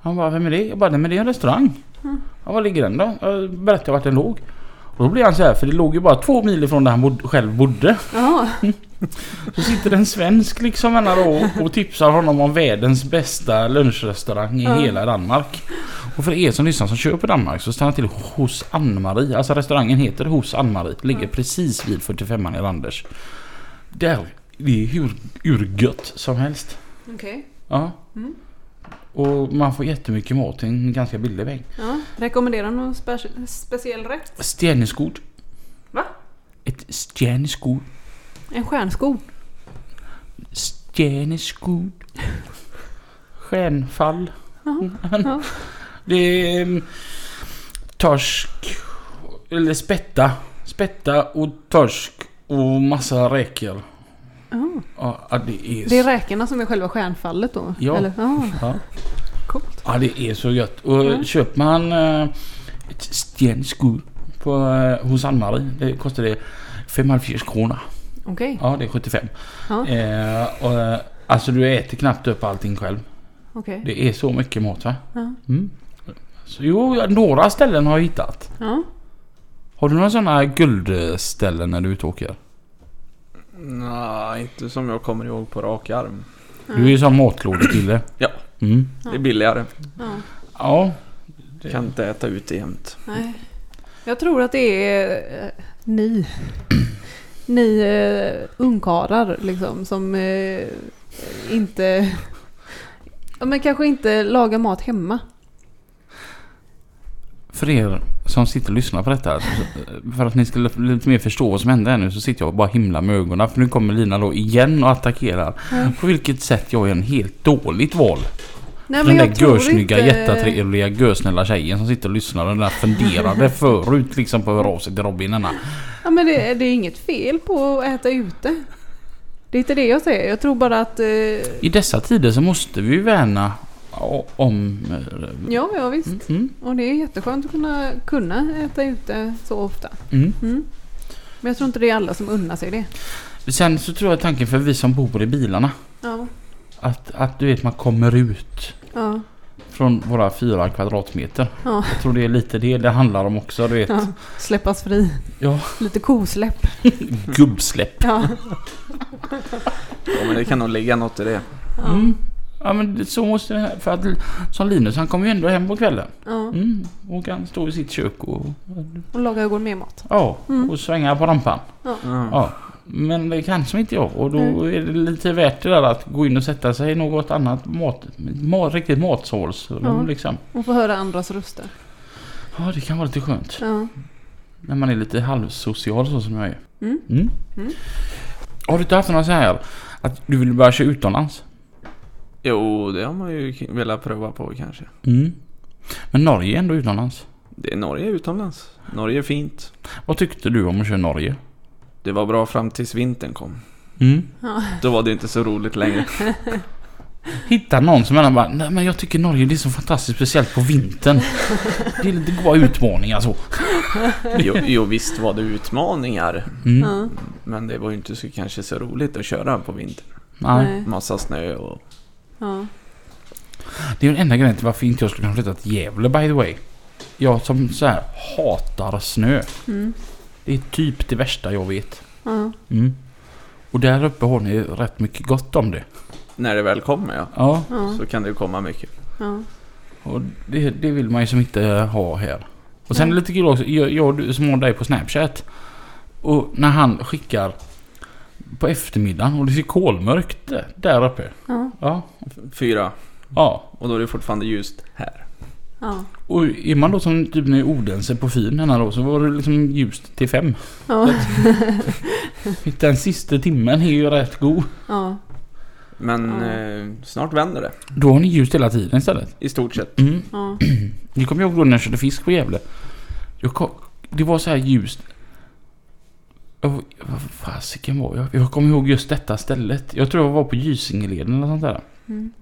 [SPEAKER 1] Han bara, vem är det? Jag bara, nej men det är en restaurang. Han bara, ligger den då? Jag berättade vart den låg. Och då blev han så här, för det låg ju bara två mil ifrån där han bod, själv bodde.
[SPEAKER 2] Jaha.
[SPEAKER 1] Så sitter en svensk liksom här och, och tipsar honom om världens bästa lunchrestaurang i
[SPEAKER 2] Ja.
[SPEAKER 1] hela Danmark. Och för er som lyssnar som kör på Danmark så stanna till hos Ann-Marie. Alltså restaurangen heter hos Ann-Marie. Ligger precis vid 45an i Randers. Där, det är hur urgött som helst.
[SPEAKER 2] Okej.
[SPEAKER 1] Ja.
[SPEAKER 2] Mm.
[SPEAKER 1] Och man får jättemycket mat till en ganska billig väg.
[SPEAKER 2] Ja. Rekommenderar någon spe- speciell rätt?
[SPEAKER 1] Steneskod.
[SPEAKER 2] Va?
[SPEAKER 1] Ett steneskod.
[SPEAKER 2] En stjärnskog?
[SPEAKER 1] Stjärneskog. Stjärnfall. Mm.
[SPEAKER 2] Ja. ja.
[SPEAKER 1] Det är mm, torsk. Eller spätta. Spätta och torsk och massa räkor.
[SPEAKER 2] Ja.
[SPEAKER 1] Ja, ja, det är,
[SPEAKER 2] Det är
[SPEAKER 1] så-
[SPEAKER 2] räkorna som är själva stjärnfallet då?
[SPEAKER 1] Ja.
[SPEAKER 2] Eller? ja.
[SPEAKER 1] ja.
[SPEAKER 2] Coolt.
[SPEAKER 1] ja, det är så gött. Och
[SPEAKER 2] Mm.
[SPEAKER 1] köper man eh, ett stenskor på, eh, hos Ann-Marie, det kostar det 54 kronor.
[SPEAKER 2] Okej.
[SPEAKER 1] Ja, det är 75.
[SPEAKER 2] Ja.
[SPEAKER 1] Eh, och, eh, alltså du äter knappt upp allting själv.
[SPEAKER 2] Okej.
[SPEAKER 1] Det är så mycket mat va?
[SPEAKER 2] Ja.
[SPEAKER 1] Mm. Så, jo, ja, några ställen har jag hittat.
[SPEAKER 2] Ja.
[SPEAKER 1] Har du några sådana guldställen när du är ute och åker?
[SPEAKER 4] Nej, inte som jag kommer ihåg på rak arm.
[SPEAKER 1] Du är ju sån matlådekille.
[SPEAKER 4] Ja.
[SPEAKER 1] Mm.
[SPEAKER 4] Det är billigare.
[SPEAKER 2] ja.
[SPEAKER 1] Ja.
[SPEAKER 4] Kan inte äta ute jämt.
[SPEAKER 2] Nej. Jag tror att det är eh, ni. (clears throat) ni eh, ungkarlar liksom som eh, inte... Ja, men kanske inte lagar mat hemma.
[SPEAKER 1] För er som sitter och lyssnar på detta. eh, För att ni ska lite mer förstå vad som hände här nu så sitter jag och bara himlar med ögonen. För nu kommer Lina då igen och attackerar.
[SPEAKER 2] Mm.
[SPEAKER 1] På vilket sätt jag är en helt dåligt val.
[SPEAKER 2] Nej,
[SPEAKER 1] den
[SPEAKER 2] jag
[SPEAKER 1] där
[SPEAKER 2] tror
[SPEAKER 1] görsnygga,
[SPEAKER 2] inte-
[SPEAKER 1] jättetrevliga, görsnälla tjejen som sitter och lyssnar. Den där
[SPEAKER 2] (laughs)
[SPEAKER 1] funderade förut liksom på att höra av sig till Robin. denna.
[SPEAKER 2] Ja, men det, det är inget fel på att äta ute. Det är inte det jag säger. Jag tror bara att... Eh,
[SPEAKER 1] I dessa tider så måste vi ju värna o- om... eh,
[SPEAKER 2] ja, ja visst.
[SPEAKER 1] Mm, mm,
[SPEAKER 2] Och det är jätteskönt att kunna, kunna äta ute så ofta.
[SPEAKER 1] mm.
[SPEAKER 2] Mm. Men jag tror inte det är alla som unnar sig det.
[SPEAKER 1] Sen så tror jag tanken för vi som bor i bilarna.
[SPEAKER 2] Ja.
[SPEAKER 1] Att, att du vet man kommer ut
[SPEAKER 2] Ja.
[SPEAKER 1] från våra fyra kvadratmeter.
[SPEAKER 2] Ja.
[SPEAKER 1] Jag tror det är lite det det handlar om också. Du vet.
[SPEAKER 2] ja. Släppas fri.
[SPEAKER 1] Ja.
[SPEAKER 2] Lite kosläpp.
[SPEAKER 1] Gubbsläpp.
[SPEAKER 2] Ja.
[SPEAKER 4] Ja, men det kan nog ligga något i det.
[SPEAKER 2] Ja.
[SPEAKER 1] Mm. Ja men det- så måste det För att som Linus han kommer ju ändå hem på kvällen.
[SPEAKER 2] ja.
[SPEAKER 1] Mm. Och kan stå i sitt kök och...
[SPEAKER 2] Och laga och gå med mat.
[SPEAKER 1] Ja.
[SPEAKER 2] Mm.
[SPEAKER 1] Och svänga på rampan.
[SPEAKER 4] Ja.
[SPEAKER 1] Ja. Men det kan som inte jag. Och då
[SPEAKER 2] Mm.
[SPEAKER 1] är det lite värt det där att gå in och sätta sig i något annat mat... mat riktigt matsålsrum
[SPEAKER 2] Ja.
[SPEAKER 1] liksom.
[SPEAKER 2] Och få höra andras röster.
[SPEAKER 1] Ja det kan vara lite skönt.
[SPEAKER 2] Ja.
[SPEAKER 1] När man är lite halvsocial så som jag är.
[SPEAKER 2] Mm. Mm.
[SPEAKER 1] Har du inte haft några så här att du vill börja köra utomlands?
[SPEAKER 4] Jo, det har man ju k- velat pröva på kanske.
[SPEAKER 1] Mm. Men Norge är ändå utomlands.
[SPEAKER 4] Det är Norge utomlands. Norge är fint.
[SPEAKER 1] Vad tyckte du om att köra Norge?
[SPEAKER 4] Det var bra fram tills vintern kom.
[SPEAKER 1] Mm.
[SPEAKER 4] Då var det inte så
[SPEAKER 2] (laughs)
[SPEAKER 4] roligt längre.
[SPEAKER 1] Hitta någon som menar bara, nej men jag tycker Norge det är så fantastiskt speciellt
[SPEAKER 2] (laughs)
[SPEAKER 1] på vintern. Det är lite goa utmaningar så.
[SPEAKER 4] Jo, jo visst var det utmaningar.
[SPEAKER 1] Mm.
[SPEAKER 2] Ja.
[SPEAKER 4] Men det var ju inte så, kanske så roligt att köra på vintern.
[SPEAKER 1] Nej.
[SPEAKER 2] Nej.
[SPEAKER 4] Massa snö och...
[SPEAKER 2] Ja.
[SPEAKER 1] Det är den enda grejen till varför inte jag skulle kunna flytta till Gävle by the way. Jag som så här hatar snö.
[SPEAKER 2] Mm.
[SPEAKER 1] Det är typ det värsta jag vet.
[SPEAKER 2] Ja.
[SPEAKER 1] Mm. Och där uppe har ni rätt mycket gott om det.
[SPEAKER 4] När det väl kommer ja.
[SPEAKER 1] Ja.
[SPEAKER 2] Ja.
[SPEAKER 4] Så kan det ju komma mycket.
[SPEAKER 2] Ja.
[SPEAKER 1] Och det, det vill man ju som inte ha här. Och sen är det lite kul också, jag, jag och du som har dig på Snapchat. Och när han skickar på eftermiddagen och det ser kolmörkt där- där uppe.
[SPEAKER 2] Ja.
[SPEAKER 1] Ja.
[SPEAKER 4] Fyra.
[SPEAKER 1] ja.
[SPEAKER 4] Och då är det fortfarande ljust här.
[SPEAKER 2] Ja.
[SPEAKER 1] Och är man då som typ i Odense på Fyren här då så var det liksom ljust till fem.
[SPEAKER 2] Ja.
[SPEAKER 1] Den sista timmen är ju rätt god.
[SPEAKER 2] (laughs) Ja.
[SPEAKER 4] Men
[SPEAKER 2] Ja.
[SPEAKER 4] eh, snart vänder det.
[SPEAKER 1] Då har ni ljust hela tiden istället.
[SPEAKER 4] I stort sett.
[SPEAKER 1] Mm.
[SPEAKER 2] Ja.
[SPEAKER 1] Det kommer jag ihåg då när jag körde fisk på Gävle. Jag kom, det var så här ljust. Jag, vad fasiken var jag? Jag kommer ihåg just detta stället. Jag tror jag var på Gysingeleden eller sånt där.
[SPEAKER 2] Mm.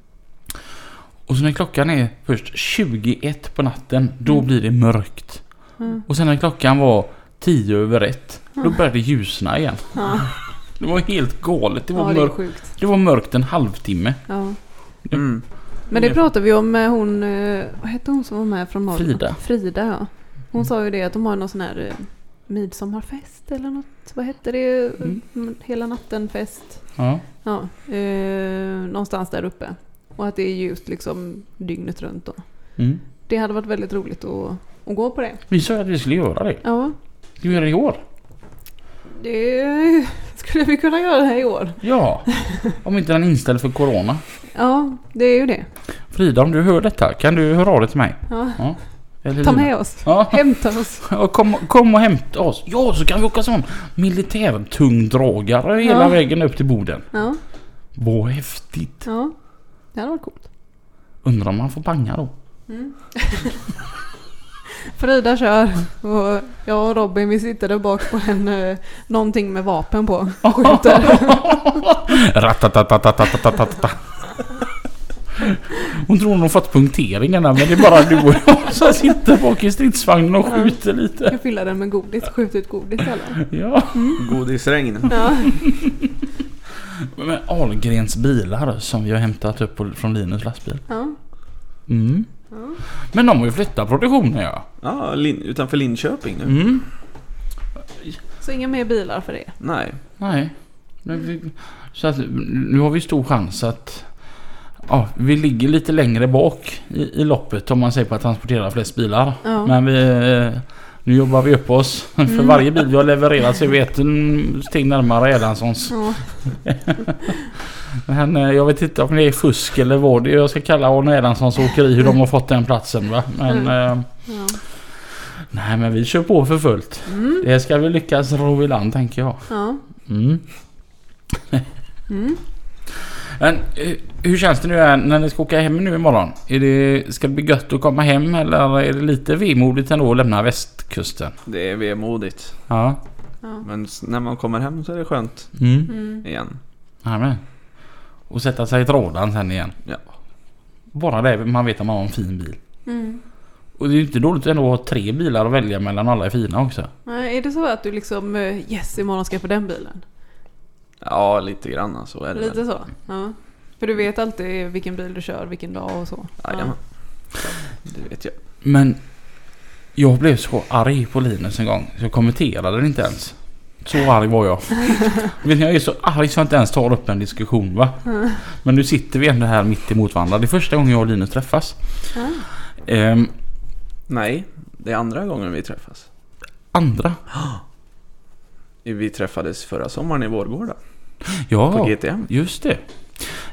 [SPEAKER 1] Och så när klockan är först 21 på natten, då
[SPEAKER 2] Mm.
[SPEAKER 1] blir det mörkt.
[SPEAKER 2] Mm.
[SPEAKER 1] Och sen när klockan var 10 över 1, då
[SPEAKER 2] Mm.
[SPEAKER 1] började det ljusna igen.
[SPEAKER 2] Ja.
[SPEAKER 1] Det var helt galet. Det var,
[SPEAKER 2] ja, det är
[SPEAKER 1] mörkt.
[SPEAKER 2] sjukt.
[SPEAKER 1] Det var mörkt en halvtimme.
[SPEAKER 2] Ja.
[SPEAKER 4] Mm.
[SPEAKER 2] Men det pratade vi om med hon, eh, vad hette hon som var med från Norge?
[SPEAKER 1] Frida. Mm.
[SPEAKER 2] Frida ja. Hon sa ju det att de har någon sån här eh, midsommarfest eller något. Vad hette det?
[SPEAKER 1] Mm.
[SPEAKER 2] Mm. Hela nattenfest.
[SPEAKER 1] Ja.
[SPEAKER 2] Ja, eh, någonstans där uppe. Och att det är ljust liksom dygnet runt då.
[SPEAKER 1] Mm.
[SPEAKER 2] Det hade varit väldigt roligt att, att gå på det.
[SPEAKER 1] Vi sa ju att vi skulle göra det.
[SPEAKER 2] Ja,
[SPEAKER 1] Ska vi göra det i år?
[SPEAKER 2] det skulle vi kunna göra i år.
[SPEAKER 1] Ja. Om inte den är inställd för Corona.
[SPEAKER 2] Ja, det är ju det.
[SPEAKER 1] Frida, om du hör detta, kan du höra av dig till mig?
[SPEAKER 2] Ja.
[SPEAKER 1] Eller
[SPEAKER 2] Ta
[SPEAKER 1] Lina?
[SPEAKER 2] med oss.
[SPEAKER 1] Ja,
[SPEAKER 2] Hämta oss.
[SPEAKER 1] och kom, kom och hämta oss. Ja, så kan vi åka sån militärtungdragare hela
[SPEAKER 2] Ja.
[SPEAKER 1] vägen upp till Boden.
[SPEAKER 2] Ja,
[SPEAKER 1] Vad häftigt.
[SPEAKER 2] ja. Det hade varit coolt.
[SPEAKER 1] Undrar om man får panga då?
[SPEAKER 2] Frida kör och jag och Robin vi sitter där bak på en eh, någonting med vapen på.
[SPEAKER 1] (laughs)
[SPEAKER 2] Skjuter.
[SPEAKER 1] Ratatatatatatatatata. Hon tror hon har fått punkteringen där, men det är bara du och jag som sitter bak i stridsvagnen och skjuter lite.
[SPEAKER 2] Jag fyller den med godis. Skjut ut godis alla.
[SPEAKER 1] Ja. Mm.
[SPEAKER 4] Godisregn.
[SPEAKER 2] Ja.
[SPEAKER 1] Men Ahlgrens bilar som vi har hämtat upp på- från Linus lastbil.
[SPEAKER 2] Ja.
[SPEAKER 1] Mm.
[SPEAKER 2] Ja.
[SPEAKER 1] Men de har ju flyttat produktionen ja.
[SPEAKER 4] Ja, lin- utanför Linköping nu.
[SPEAKER 1] Mm.
[SPEAKER 2] Så inga mer bilar för det.
[SPEAKER 4] Nej.
[SPEAKER 1] Nej. Men vi- Så att nu har vi stor chans att Ja, vi ligger lite längre bak i, i loppet om man säger på att transportera flest bilar.
[SPEAKER 2] Ja. Mm.
[SPEAKER 1] Men vi eh, Nu jobbar vi upp oss. (laughs) För varje bil vi har levererat så är vi ett mm, steg närmare Erlandssons.
[SPEAKER 2] Ja.
[SPEAKER 1] Men eh, jag vet inte om det är fusk eller vad det är. Jag ska kalla Arne Erlandssons åkeri hur de har fått den platsen va. Men, eh,
[SPEAKER 2] Ja.
[SPEAKER 1] nej men vi kör på för fullt.
[SPEAKER 2] Mm.
[SPEAKER 1] Det ska vi lyckas ro i land tänker jag.
[SPEAKER 2] Ja.
[SPEAKER 1] Mm.
[SPEAKER 2] Mm.
[SPEAKER 1] (laughs) Men eh, hur känns det nu här när ni ska åka hem nu imorgon? Är det, ska det bli gött att komma hem eller är det lite vemodigt ändå att lämna västkusten?
[SPEAKER 4] Det är vemodigt.
[SPEAKER 1] Ja.
[SPEAKER 2] Ja.
[SPEAKER 4] Men s- när man kommer hem så är det skönt
[SPEAKER 1] Mm.
[SPEAKER 2] Mm.
[SPEAKER 4] igen.
[SPEAKER 1] Jajamän. Och sätta sig i trådan sen igen.
[SPEAKER 4] Ja.
[SPEAKER 1] Bara det man vet att man har en fin bil.
[SPEAKER 2] Mm.
[SPEAKER 1] Och det är ju inte dåligt ändå att ha tre bilar att välja mellan alla är fina också.
[SPEAKER 2] Nej, Är det så att du liksom eh, yes imorgon ska jag få den bilen?
[SPEAKER 4] Ja, lite grann alltså, så är det Mm. väl.
[SPEAKER 2] Lite så? Ja. För du vet alltid vilken bil du kör vilken dag och så?
[SPEAKER 4] Jajamän. Det vet jag.
[SPEAKER 1] Men jag blev så arg på Linus en gång så jag kommenterade det inte ens. Så arg var jag. Vet ni, jag är så arg så jag inte ens tar upp en diskussion va. Men nu sitter vi ändå här mitt emot varandra. Det är första gången jag och Linus träffas.
[SPEAKER 2] Ja.
[SPEAKER 1] Ehm,
[SPEAKER 4] Nej, det är andra gången vi träffas.
[SPEAKER 1] andra.
[SPEAKER 4] Vi träffades förra sommaren i Vårgårda
[SPEAKER 1] Ja.
[SPEAKER 4] på GTM.
[SPEAKER 1] Just det.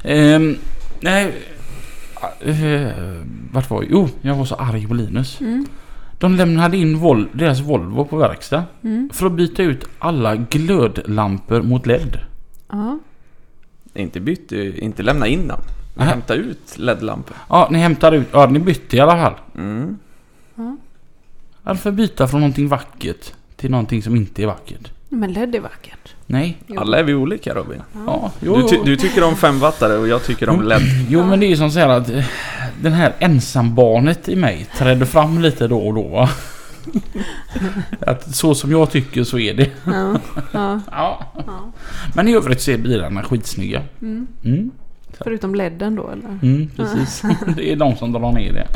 [SPEAKER 1] Ehm, nej. Eh, vart var jag? Jo, jag var så arg på Linus.
[SPEAKER 2] Mm.
[SPEAKER 1] De lämnade in vol- deras Volvo på verkstad
[SPEAKER 2] Mm.
[SPEAKER 1] för att byta ut alla glödlampor mot LED.
[SPEAKER 2] Ja.
[SPEAKER 4] Inte bytt, eh, inte lämna in dem. Vi
[SPEAKER 1] Aha.
[SPEAKER 4] hämtade ut LED-lampor.
[SPEAKER 1] Ja, ni hämtar ut... Ja, ni bytte i alla fall.
[SPEAKER 4] Mm.
[SPEAKER 1] Varför byta från någonting vackert till någonting som inte är vackert?
[SPEAKER 2] Men LED är vackert.
[SPEAKER 1] Nej.
[SPEAKER 2] Jo.
[SPEAKER 4] Alla är vi olika Robin.
[SPEAKER 1] Ja, jo, Mm.
[SPEAKER 4] Du, ty-
[SPEAKER 1] jo.
[SPEAKER 4] du tycker om femwattare och jag tycker om LED.
[SPEAKER 1] jo men det är ju som så här att eh, den här ensambarnet i mig trädde fram lite då och då
[SPEAKER 2] (laughs)
[SPEAKER 1] va? Att så som jag tycker så är det.
[SPEAKER 2] Ja.
[SPEAKER 4] (laughs)
[SPEAKER 2] Ja.
[SPEAKER 1] Ja.
[SPEAKER 2] Ja.
[SPEAKER 1] Men i övrigt så är bilarna skitsnygga.
[SPEAKER 2] Mm.
[SPEAKER 1] Mm,
[SPEAKER 2] Förutom LEDen då eller?
[SPEAKER 1] mm precis. (laughs) Det är de som drar ner det.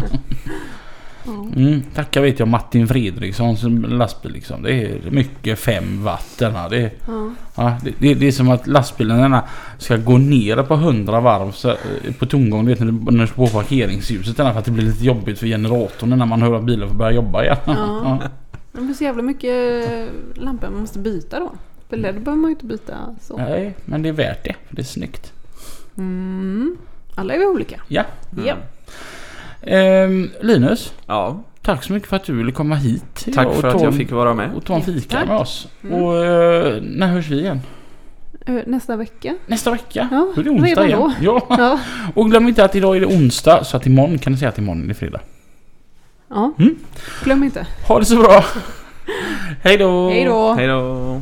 [SPEAKER 2] Ja.
[SPEAKER 1] Mm, tackar vet jag Martin Fredriksson som lastbil liksom. Det är mycket fem watt den här. Det,
[SPEAKER 2] Ja.
[SPEAKER 1] ja, det, det, det är som att lastbilen den här ska gå ner på 100 varv så, eh, på tomgång. Du vet när du, när du slår på parkeringsljuset den här, för att det blir lite jobbigt för generatorn när man hör att bilen får börja jobba igen. (laughs)
[SPEAKER 2] Ja. Det blir så jävla mycket eh, lampor man måste byta då. För LED
[SPEAKER 4] Mm.
[SPEAKER 2] behöver man ju inte byta så.
[SPEAKER 1] Nej, men det är värt det. För det är snyggt.
[SPEAKER 2] Mm. Alla är vi olika.
[SPEAKER 1] Ja.
[SPEAKER 2] Ja.
[SPEAKER 1] Ehm, Linus,
[SPEAKER 4] Mm. Ja,
[SPEAKER 1] tack så mycket för att du ville komma hit.
[SPEAKER 4] tack
[SPEAKER 1] och
[SPEAKER 4] för att
[SPEAKER 1] ta
[SPEAKER 4] jag
[SPEAKER 1] en-
[SPEAKER 4] fick vara med.
[SPEAKER 1] och ta en fika
[SPEAKER 2] Tack.
[SPEAKER 1] med oss.
[SPEAKER 2] Mm.
[SPEAKER 1] Och eh, när hörs vi igen?
[SPEAKER 2] Eh, Nästa vecka.
[SPEAKER 1] Nästa vecka.
[SPEAKER 2] Ja,
[SPEAKER 1] då är det onsdag
[SPEAKER 2] redan
[SPEAKER 1] igen.
[SPEAKER 2] då.
[SPEAKER 1] Ja.
[SPEAKER 2] Ja.
[SPEAKER 1] Och glöm inte att idag är det onsdag så att imorgon kan ni säga att imorgon är det fredag.
[SPEAKER 2] ja.
[SPEAKER 1] Mm.
[SPEAKER 2] Glöm inte. (laughs)
[SPEAKER 1] Ha det så bra! Hej då!
[SPEAKER 2] Hej då.
[SPEAKER 4] Hej då!